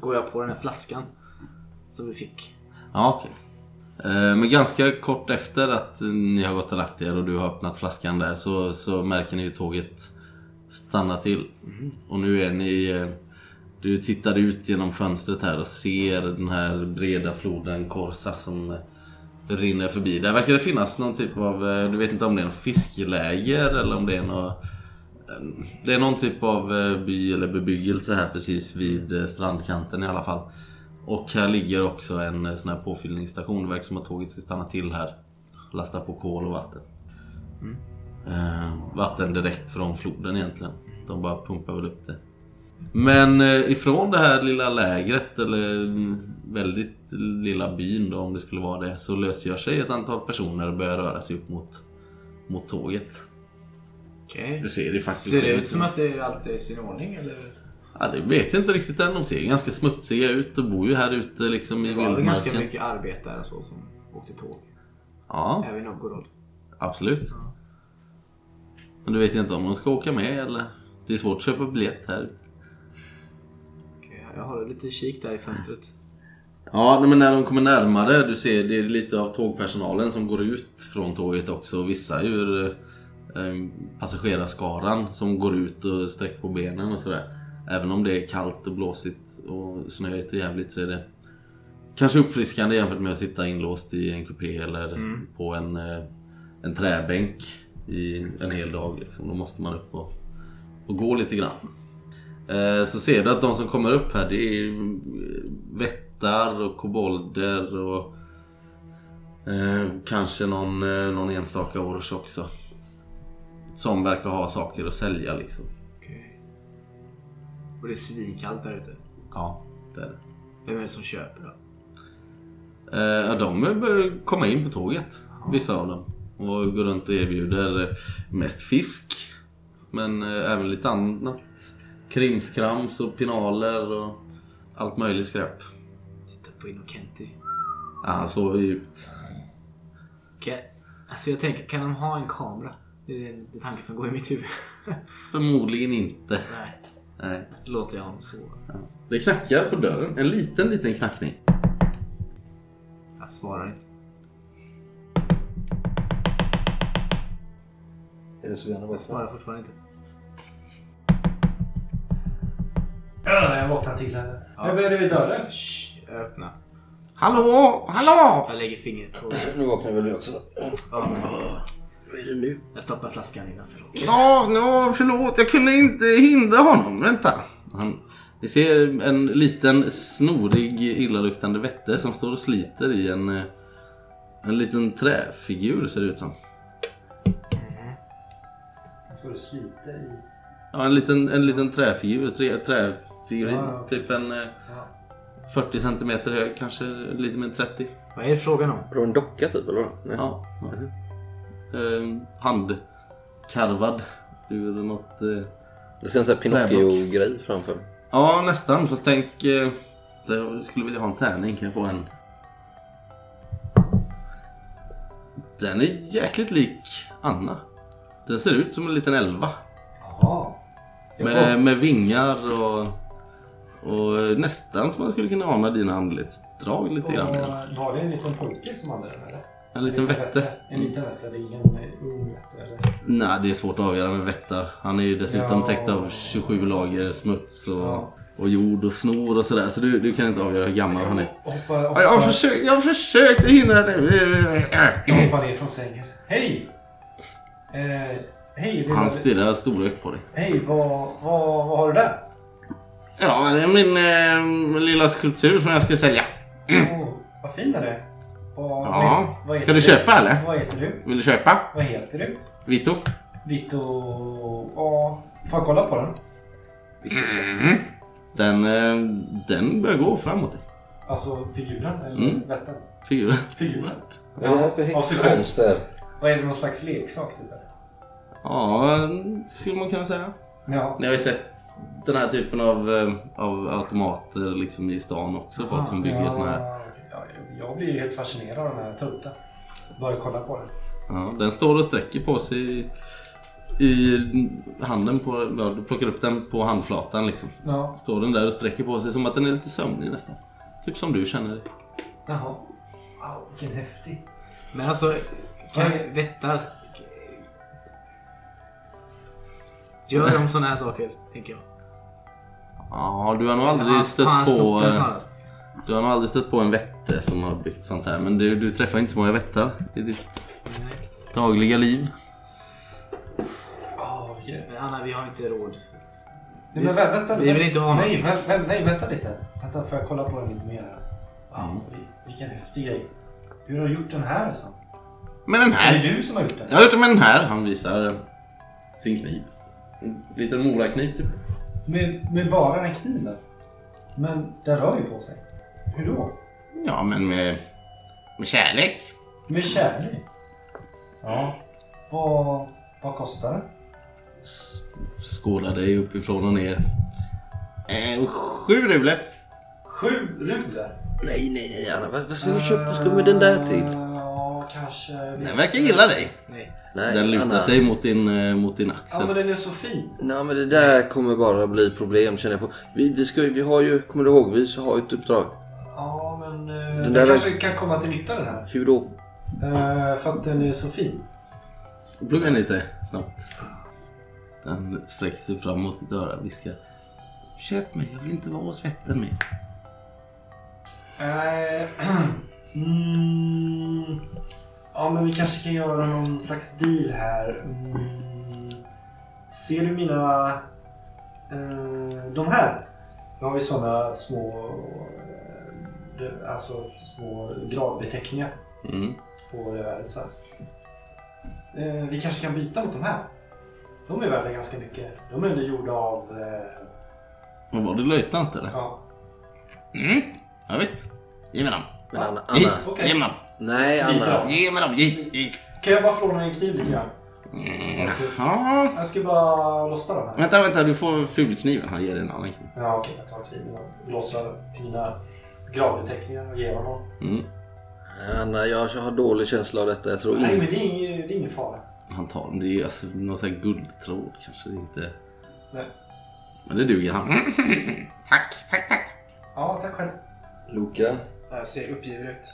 går jag på den här flaskan som vi fick.
Ja, okej. Eh, Men ganska kort efter att ni har gått och lagt er och du har öppnat flaskan där så, så märker ni ju tåget stanna till. Och nu är ni... eh, Du tittar ut genom fönstret här och ser den här breda floden Korsa som rinner förbi. Där verkar det finnas någon typ av, eh, du vet inte om det är en fiskläger eller om det är någon... eh, Det är någon typ av eh, by eller bebyggelse här precis vid eh, strandkanten i alla fall. Och här ligger också en eh, sån här påfyllningsstation. Det verkar som att tåget ska stanna till här. Lasta på kol och vatten.
Mm.
Eh, Vatten direkt från floden egentligen. De bara pumpar väl upp det. Men eh, ifrån det här lilla lägret eller mm, väldigt lilla byn då om det skulle vara det så lösgör sig ett antal personer och börjar röra sig upp mot, mot tåget.
Okej.
Du ser det faktiskt.
Ser det ut som att det alltid är i sin ordning eller?
Ja, det vet jag inte riktigt än. De ser ganska smutsiga ut och bor ju här ute liksom i
Det var väl ganska
vildmarken.
mycket arbetare och så som åkte tåg.
Ja,
Även i Novgorod.
absolut.
Ja.
Men du vet ju inte om de ska åka med eller? Det är svårt att köpa biljett här ute.
Okej, jag håller lite kik där i fönstret.
Ja, nej, men när de kommer närmare, du ser det är lite av tågpersonalen som går ut från tåget också. Vissa ur eh, passagerarskaran som går ut och sträcker på benen och sådär. Även om det är kallt och blåsigt och snöigt och jävligt så är det kanske uppfriskande jämfört med att sitta inlåst i en kupé eller
Mm.
på en, eh, en träbänk i en hel dag. Liksom. Då måste man upp och, och gå lite grann. Eh, Så ser du att de som kommer upp här det är ju, eh, vättar och kobolder och eh, kanske någon, eh, någon enstaka ors också. Som verkar ha saker att sälja liksom.
Okej. Och det är svinkallt där ute.
Ja, det är det.
Vem är det som köper då?
Eh, ja, de börjar komma in på tåget, vissa av dem. Och går runt och erbjuder eh, mest fisk. Men eh, även lite annat. Krimskrams och pinaler och allt möjligt skräp.
Titta på Inokenti.
Ja, han sover djupt.
Okej. Alltså jag tänker, kan de ha en kamera? Det är den den tanken som går i mitt huvud.
Förmodligen inte.
Nej,
Nej.
låter jag honom sova.
Det knackar på dörren. En liten, liten knackning.
Jag svarar inte.
Är det så gärna
Jag
borta?
svarar fortfarande inte.
Ja, Jag vaknar till här.
Ja.
Jag är vid dörren.
Shh, jag öppnar.
Hallå! Hallå!
Jag lägger fingret på...
Nu vaknar väl du också då?
Ja, men... Vad är det nu? Jag stoppar flaskan innanför rocken.
Ja, ja, förlåt. Jag kunde inte hindra honom. Vänta. Han, ni ser en liten snorig illaluktande vätte som står och sliter i en, eh, en liten träfigur ser det ut som.
Så du sliter i...
Ja, en liten, en liten träfigur. Trä, träfigur
Ja, ja.
typ en eh,
Ja.
40 centimeter hög, kanske lite mer än 30.
Vad är det frågan om?
Var det en docka typ eller? vad? Nej.
Ja. Eh, handkarvad ur något... Eh,
Det ser en sån här Pinocchio-grej framför mig.
Ja, nästan. Fast tänk... eh, Jag skulle vilja ha en tärning. Kan jag få en? Den är jäkligt lik Anna. Den ser ut som en liten elva.
Jaha.
eh,
Med, med vingar och, och nästan som man skulle kunna ana dina anletsdrag lite grann. eller?
Och var det en liten pojke som hade den eller?
En liten vätte.
En liten vätte, det är ingen eh, ung vätte eller?
Nej, det är svårt att avgöra med vättar. Han är ju dessutom
Ja.
täckt av 27 lager smuts och,
Ja.
och jord och snor och sådär. Så du, du kan inte avgöra hur gammal han är.
Hoppar,
Ja, Jag har
hoppar,
försökt, jag har försökt hinna det.
hoppar ner från sängen. Hej! Eh, hej, lilla-
Han stirrar storögt på dig.
hej vad, vad, vad har du där?
Ja, det är min eh, lilla skulptur som jag ska sälja.
Åh, vad fin den är. Vad,
Mm. Ja.
vad heter
Ska du köpa eller?
Vad heter du?
Vill du köpa?
Vad heter du?
Vito?
Vito... Ja, får jag kolla på den?
Den, eh, den börjar gå framåt.
Alltså figuren eller
Mm.
vätten?
Figuren.
Figuren.
Vad är det här för
Av sig själv.
häxkonster?
Vad är det, någon slags leksak typ? eller?
Ja, skulle man kunna säga.
Ja.
Ni har ju sett den här typen av, eh, av automater liksom i stan också. Folk som bygger
ja,
såna här.
okej. Ja, jag blir ju helt fascinerad av den här tutten. Bara kolla på den.
Ja, den står och sträcker på sig i, i handen. På, ja, du plockar upp den på handflatan liksom.
Ja,
Står den där och sträcker på sig som att den är lite sömnig nästan. Typ som du känner dig.
jaha. Wow, vilken häftig.
Men alltså, kan
Vad är-
vättar... Gör de såna här saker, tänker jag.
Ja, du har nog aldrig
Han-
stött
han snott
på...
den
eh,
snarast.
Du har nog aldrig stött på en vätte som har byggt sånt här. Men du, du träffar inte så många vättar i ditt
Nej.
dagliga liv.
Åh, yeah.
Men Anna, vi har inte råd.
Nej, men vä- vänta,
Vi
vä-
vill inte ha
nej, vä- vä- nej, vänta lite. Vänta, får jag kolla på den lite mer? här?
Mm.
Wow, vil- vilken häftig grej. Hur har du gjort den här? Så?
Men den
Är
här!
det du som har gjort den?
Jag har gjort det med den här. Han visar eh, sin kniv. En liten morakniv typ.
Med, med bara den kniven? Men den rör ju på sig. Hur då?
Ja, men med, med kärlek.
Med kärlek? Ja. Vad, vad kostar den?
Skålar dig uppifrån och ner. Eh, sju rubler.
Sju rubler?
Nej, nej, nej Anna. Vad, vad ska du köpa? Vad ska du med den där till?
Ja, kanske...
Den verkar gilla dig.
Nej.
Nej,
den lutar
Anna.
sig mot din, eh, mot din
Ja,
axel.
men den är så fin.
Nej, men det där kommer bara bli problem känner jag. På. Vi, vi, ska, ju- vi har ju, kommer du ihåg, vi har ju ett uppdrag.
Ja, men eh,
Den
den,
där
kanske kan komma till nytta den här.
Hur då?
Eh, för att den är så fin.
Plugga den lite snabbt. Den sträcker sig fram mot dörren viskar. Köp mig, jag vill inte vara hos vätten mer.
Eh, mm, ja, men vi kanske kan göra någon slags deal här. Mm, ser du mina... Eh, de här? Då har vi såna små... Eh, alltså små gradbeteckningar
Mm.
på geväret. så här. Eh, vi kanske kan byta mot de här. De är värda ganska mycket. De är ändå gjorda av... Eh,
Och var det löjtnant eller?
ja.
Mm. Ja, visst. Ge mig dem.
Men Anna,
Hit!
Anna.
Okej.
Ge mig dem.
Nej, Anna.
Ge mig dem. Hit, hit.
Kan jag bara få låna en kniv lite grann?
Mm. Ja.
Jag ska bara lossa de här.
Vänta, vänta. Du får fulkniven. Han ger dig en annan kniv.
Ja, okej. Jag tar kniven och lossar fina gravbeteckningar och ger honom.
Mm.
Anna, jag har dålig känsla av detta. Jag tror
Nej,
inte...
men det är ingen, det är ingen fara.
Han tar dem. Det är alltså någon sån här guldtråd kanske. Det är inte...
Nej.
Men det duger han. Tack, tack, tack.
Ja, tack själv.
Luka,
Jag ser uppgiven ut.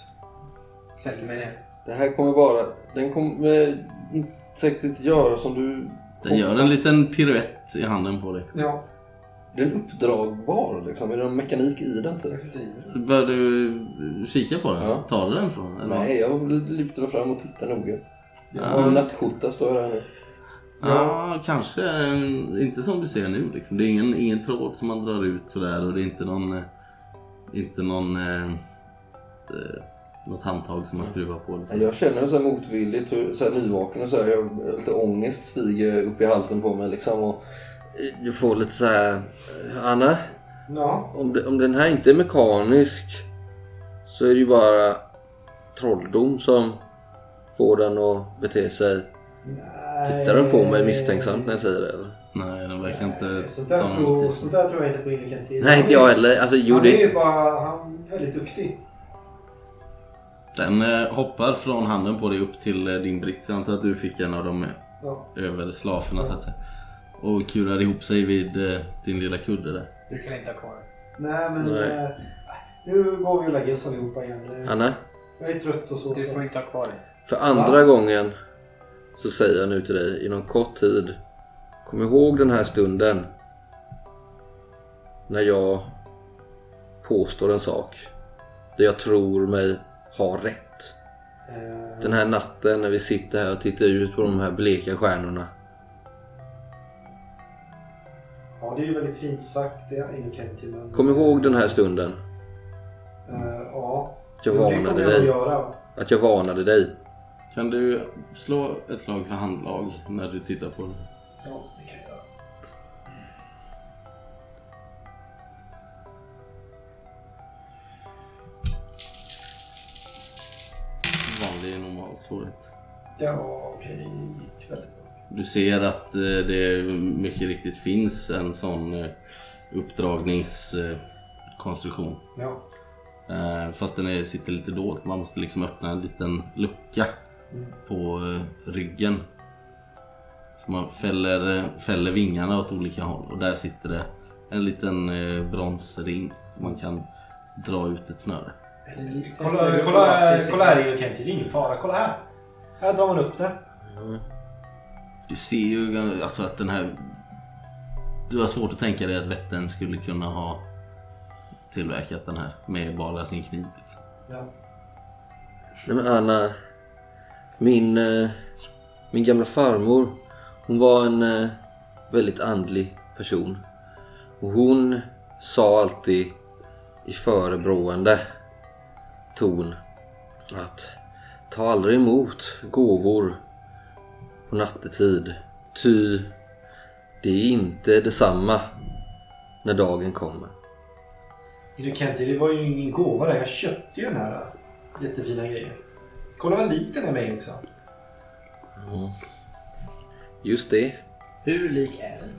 Sätter mig ner.
det här kommer bara... Den kommer in- säkert inte göra som du...
Den gör en liten piruett i handen på dig.
Ja,
Den är uppdragbar liksom. Är det någon mekanik i den typ?
jag sitter i den.
Bör du kika på den?
Ja.
Tar du den från? eller?
Nej, jag lutar mig fram och tittar noga.
Ja.
Min nattskjorta står här nu.
Ja, kanske. eh, Inte som du ser nu. Liksom. Det är ingen, ingen tråd som man drar ut sådär och det är inte någon... eh, Inte någon... Eh, eh, något handtag som man skruvar på. Liksom.
Jag känner så här motvilligt, hur- så här nyvaken och så här, jag, lite ångest stiger upp i halsen på mig liksom. Och jag får lite så här... eh, Anna,
Ja,
om, det- om den här inte är mekanisk så är det ju bara trolldom som får den att bete sig. Tittar den på mig misstänksamt när jag säger det? Eller?
Nej, den verkar inte
Eh, Sånt
ta
där,
någon
tror,
notis.
sånt där tror jag inte på Illiken till.
Nej, inte jag heller. Alltså, jo,
han är ju
det...
bara han är väldigt duktig.
Den eh, hoppar från handen på dig upp till eh, din brits. Jag antar att du fick en av dem med.
Ja.
över slaferna så att säga. Och kurar ihop sig vid eh, din lilla kudde där.
Du kan inte ha kvar den.
Nej, men
Nej.
eh, nu går vi och lägger oss allihopa igen.
Anna?
Jag är trött och så.
Du
så.
får inte ha kvar den.
För andra gången så säger jag nu till dig inom kort tid. Kom ihåg den här stunden. När jag påstår en sak. Där jag tror mig ha rätt.
Eh,
Den här natten när vi sitter här och tittar ut på de här bleka stjärnorna.
Ja, det är ju väldigt fint sagt det, Illiken. men-
Kom ihåg den här stunden.
Eh, ja.
Att jag
Jo, det kommer
varnade
jag att
dig.
göra.
Att jag varnade dig.
Kan du slå ett slag för handlag när du tittar på den?
Ja, det kan jag göra.
Vanlig normal svårighet.
Ja, okej. det gick väldigt bra.
Du ser att eh, det mycket riktigt finns en sån eh, uppdragningskonstruktion.
Ja.
Eh, Fast den är, sitter lite dolt. Man måste liksom öppna en liten lucka
Mm.
på eh, ryggen. Så man fäller, fäller vingarna åt olika håll och där sitter det en liten eh, bronsring som man kan dra ut ett snöre.
Kolla, kolla, kolla här Erik Kenti, det är ingen fara. Kolla här. Här drar man upp den.
Du ser ju eh, alltså att den här... Du har svårt att tänka dig att vätten skulle kunna ha tillverkat den här med bara sin kniv. Liksom.
Ja.
Nej men Anna. Min, eh, min gamla farmor. Hon var en eh, väldigt andlig person. Och hon sa alltid i förebrående ton att ta aldrig emot gåvor på nattetid. Ty det är inte detsamma när dagen kommer.
Inokenti, det var ju ingen gåva där. Jag köpte ju den här äh, jättefina grejen. Kolla vad lik den är mig också.
Just det.
Hur lik är den?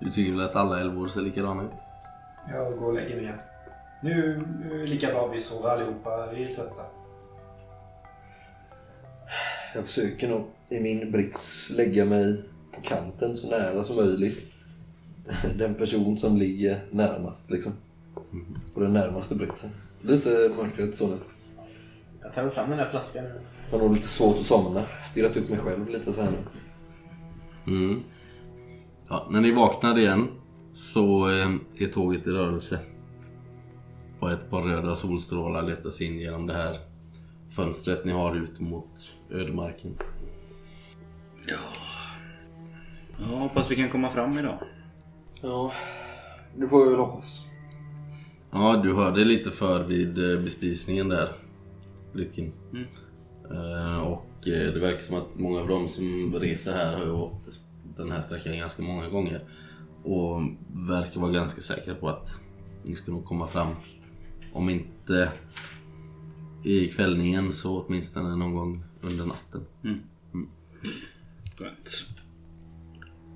Du tycker väl att alla älvor ser likadana ut?
Jag går och lägger mig igen. Nu, nu är det lika bra vi sover allihopa. Vi är trötta.
Jag försöker nog i min brits lägga mig på kanten så nära som möjligt. Den person som ligger närmast liksom. På den närmaste britsen. Lite mörkret så nu.
Jag tar fram den där flaskan nu.
Har nog lite svårt att somna. Stirrat upp mig själv lite så här nu.
Mm. Ja, när ni vaknar igen så eh, är tåget i rörelse. Och ett par röda solstrålar letar sig in genom det här fönstret ni har ut mot ödemarken.
Ja, hoppas vi kan komma fram idag.
Ja, det får jag väl hoppas.
Ja, du hörde lite för vid eh, bespisningen där, Lytkin.
Mm.
Eh, Och eh, det verkar som att många av de som reser här har ju åkt den här sträckan ganska många gånger. Och verkar vara ganska säkra på att ni ska nog komma fram. Om inte i kvällningen så åtminstone någon gång under natten.
Skönt.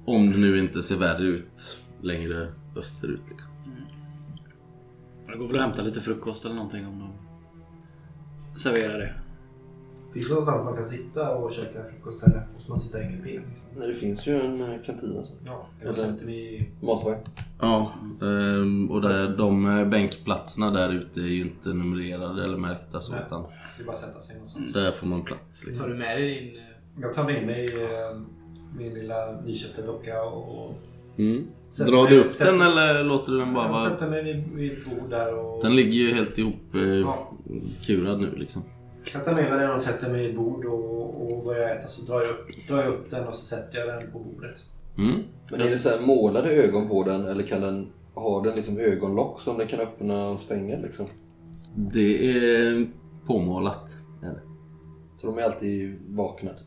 Om det nu inte ser värre ut längre österut. Liksom.
Jag går väl och hämtar lite frukost eller någonting om de serverar det.
Finns det någonstans man kan sitta och käka frukost eller måste man sitta i kupén?
Nej, det finns ju en eh, kantina så.
Ja,
Eller-
jag sätter vi...
Matvagn.
Ja, ehm, och där, de eh, bänkplatserna där ute är ju inte numrerade eller märkta så
Nej.
utan
Det är bara att sätta sig någonstans.
där får man plats. Liksom.
Tar du med dig din... eh,
Jag tar med mig eh, min lilla nyköpta docka och...
Mm.
Sätter
Drar
mig-
du upp
sätter-
den eller låter du den bara
Jag
vara?
sätter mig vid, vid ett bord där och...
Den ligger ju helt ihop eh,
Ja.
kurad nu liksom.
Jag tar med mig den och sätter mig vid ett bord och, och börjar äta. Så drar jag, upp, drar jag upp den och så sätter jag den på bordet.
Mm.
Men är det så här målade ögon på den eller kan den ha den liksom ögonlock som den kan öppna och stänga liksom?
Det är påmålat. Är det.
Så de är alltid vakna typ.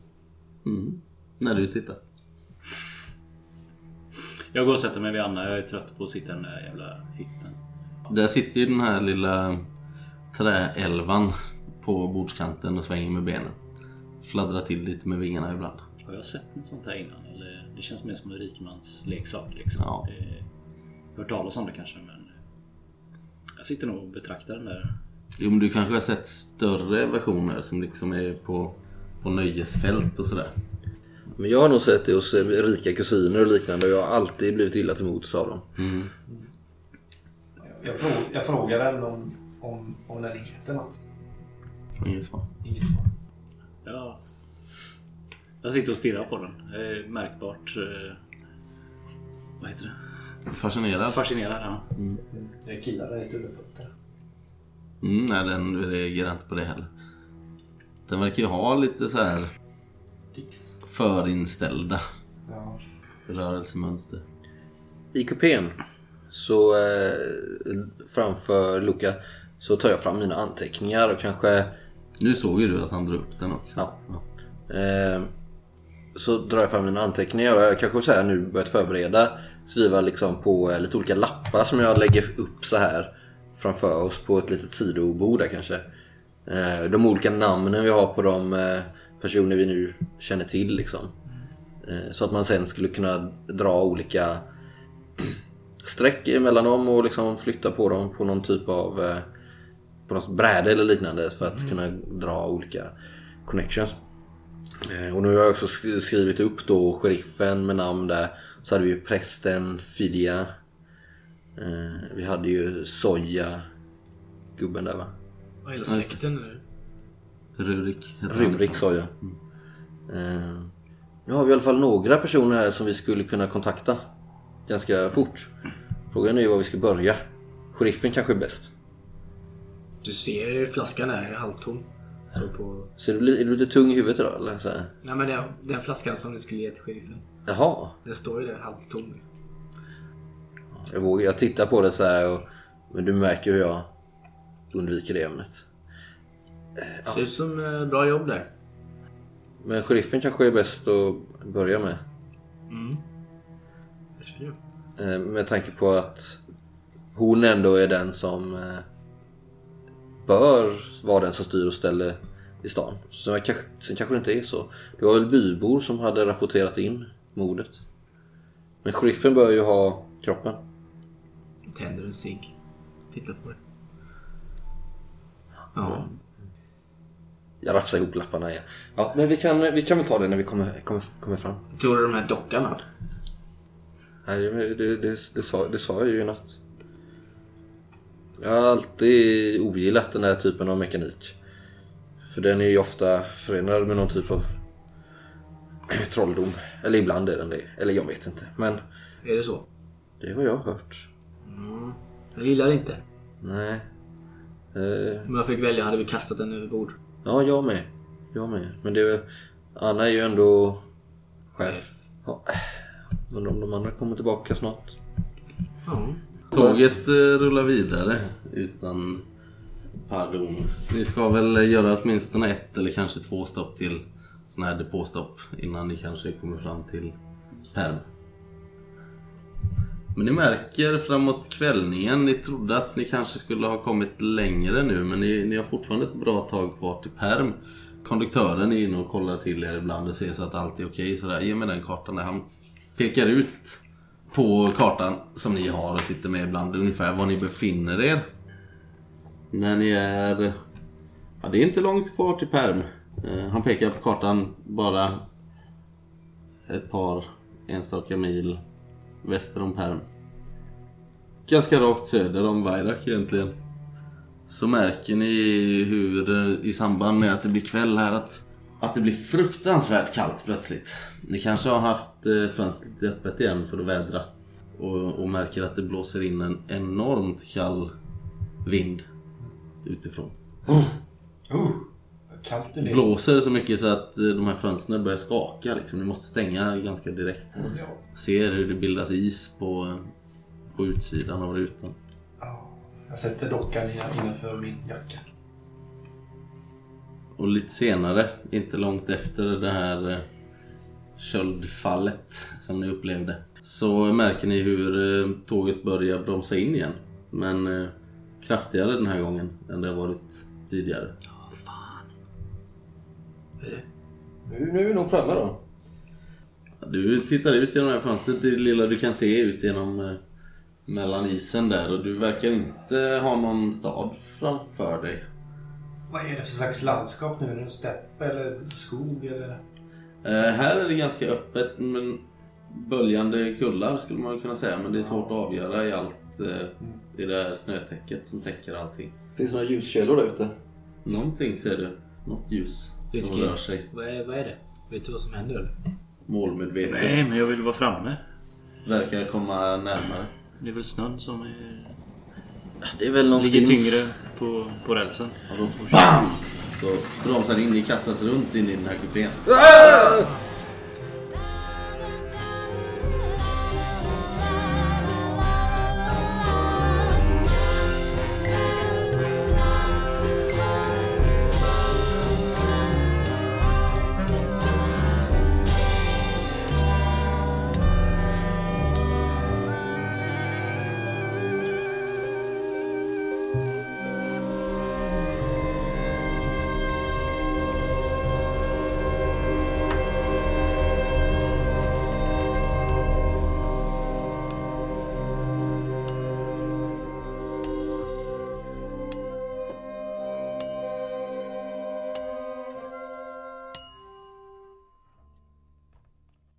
Mm. När du tittar.
Jag går och sätter mig vid Anna. Jag är trött på att sitta i den där jävla hytten.
Där sitter ju den här lilla träelvan på bordskanten och svänger med benen. Fladdrar till lite med vingarna ibland.
Har jag sett något sånt här innan? Eller det känns mer som en rikmans leksak liksom.
Ja.
Eh, hört talas om det kanske men... eh, Jag sitter nog och betraktar den där.
Jo men du kanske har sett större versioner som liksom är på, på nöjesfält och sådär.
Men jag har nog sett det hos eh, rika kusiner och liknande och jag har alltid blivit illa till mots av dem.
Jag, frå, jag frågar den om, om, om den heter något.
Från inget svar.
Inget svar.
Ja. Jag sitter och stirrar på den. Jag är märkbart... Eh, vad heter det?
Fascinerad.
Fascinerad. Ja.
Jag killar den lite under fötterna.
Mm, nej, den reagerar inte på det heller. Den verkar ju ha lite så här
Tics.
förinställda
Ja.
rörelsemönster.
I kupén så eh, framför Luca så tar jag fram mina anteckningar och kanske
Nu såg ju du att han drog upp den också.
Ja. eh, så drar jag fram mina anteckningar och jag kanske så här nu börjat förbereda skriva liksom på eh, lite olika lappar som jag lägger upp så här framför oss på ett litet sidobord där kanske. Eh, de olika namnen vi har på de eh, personer vi nu känner till liksom. Eh, Så att man sen skulle kunna dra olika streck emellan dem och liksom flytta på dem på någon typ av eh, på något bräde eller liknande för att kunna dra olika connections. Eh, Och nu har jag också sk- skrivit upp då sheriffen med namn där. Så hade vi ju prästen Fidia. Eh, Vi hade ju Soja gubben där va?
Vad hela släkten eller?
Rurik. heter han.
Rubrik sa jag. Eh, nu har vi i alla fall några personer här som vi skulle kunna kontakta ganska fort. Frågan är ju var vi ska börja.
Sheriffen kanske är bäst.
Du ser flaskan är halvtom. Så på...
Så är du, li- är du lite tung i huvudet idag eller? Så här.
Nej men den, den flaskan som du skulle ge till sheriffen.
Jaha.
Den står ju där halvtom. Liksom.
Jag, vågar, jag tittar på det så här och, men du märker hur jag undviker det ämnet.
Ser ut som eh, bra jobb där.
Men sheriffen kanske är bäst att börja med.
Mm. Jag känner ju.
Eh, Med tanke på att hon ändå är den som eh, bör vara den som styr och ställer i stan. Så jag kanske, sen kanske det inte är så. Det var väl bybor som hade rapporterat in mordet. Men sheriffen bör ju ha kroppen.
Tänder en cigg. Tittar på det. Ja.
Jag rafsar ihop lapparna igen. Ja, men vi kan, vi kan väl ta det när vi kommer, kommer, kommer fram.
Tror du de här dockarna?
Nej, men det, det, det, sa, det sa jag ju i natt. Jag har alltid ogillat den här typen av mekanik. För den är ju ofta förenad med någon typ av trolldom. Eller ibland är den det. Eller jag vet inte. Men
Är det så?
det är vad jag har hört.
Jag gillar det inte.
Nej. Eh,
Om jag fick välja hade vi kastat den över bord.
ja, jag med. Jag med. Men det är väl... Anna är ju ändå chef. Ja. Undrar om de andra kommer tillbaka snart.
Ja.
Tåget eh, rullar vidare utan pardon. Ni ska väl eh, göra åtminstone ett eller kanske två stopp till sådana här depåstopp innan ni kanske kommer fram till Perm. Men ni märker framåt kvällningen, ni trodde att ni kanske skulle ha kommit längre nu men ni, ni har fortfarande ett bra tag kvar till Perm. Konduktören är inne och kollar till er ibland och ser så att allt är okej. Sådär, ge mig den kartan där han pekar ut på kartan som ni har och sitter med ibland ungefär var ni befinner er. När ni är... Ja, det är inte långt kvar till perm. Eh, Han pekar på kartan bara ett par enstaka mil väster om perm. Ganska rakt söder om Vairak egentligen. Så märker ni hur eh, i samband med att det blir kväll här att, att det blir fruktansvärt kallt plötsligt. Ni kanske har haft eh, fönstret öppet igen för att vädra. Och, och märker att det blåser in en enormt kall vind utifrån.
Oh, vad kallt är det
Det blåser så mycket så att eh, de här fönstren börjar skaka liksom. Ni måste stänga ganska direkt.
Ja.
Ser hur det bildas is på, eh, på utsidan av rutan.
Ja. Jag sätter dockan i- innanför min jacka.
Och lite senare, inte långt efter det här eh, köldfallet som ni upplevde, så märker ni hur eh, tåget börjar bromsa in igen. Men eh, kraftigare den här gången än det har varit tidigare.
Nu, nu är vi nog framme då.
Du tittar ut genom det här fönstret, det lilla du kan se ut genom eh, mellan isen där och du verkar inte ha någon stad framför dig.
Vad är det för slags landskap nu? Är det en stepp eller skog eller?
Eh, här är det ganska öppet men böljande kullar skulle man kunna säga men det är svårt att avgöra i allt eh, i det här snötäcket som täcker allting.
Mm. Finns det några ljuskällor där ute?
Någonting ser du, något ljus
Det är ett
som
skrik.
rör sig
Vad är, vad är det? Vet du vad som händer eller?
målmedvetet.
Nej, men jag vill vara framme.
Verkar komma närmare.
Det är väl snön som är...
Det är väl
ligger
någonstans...
tyngre på, på rälsen.
Och då BAM! Så bromsar in, ni kastas runt in i den här kupén.
Ah!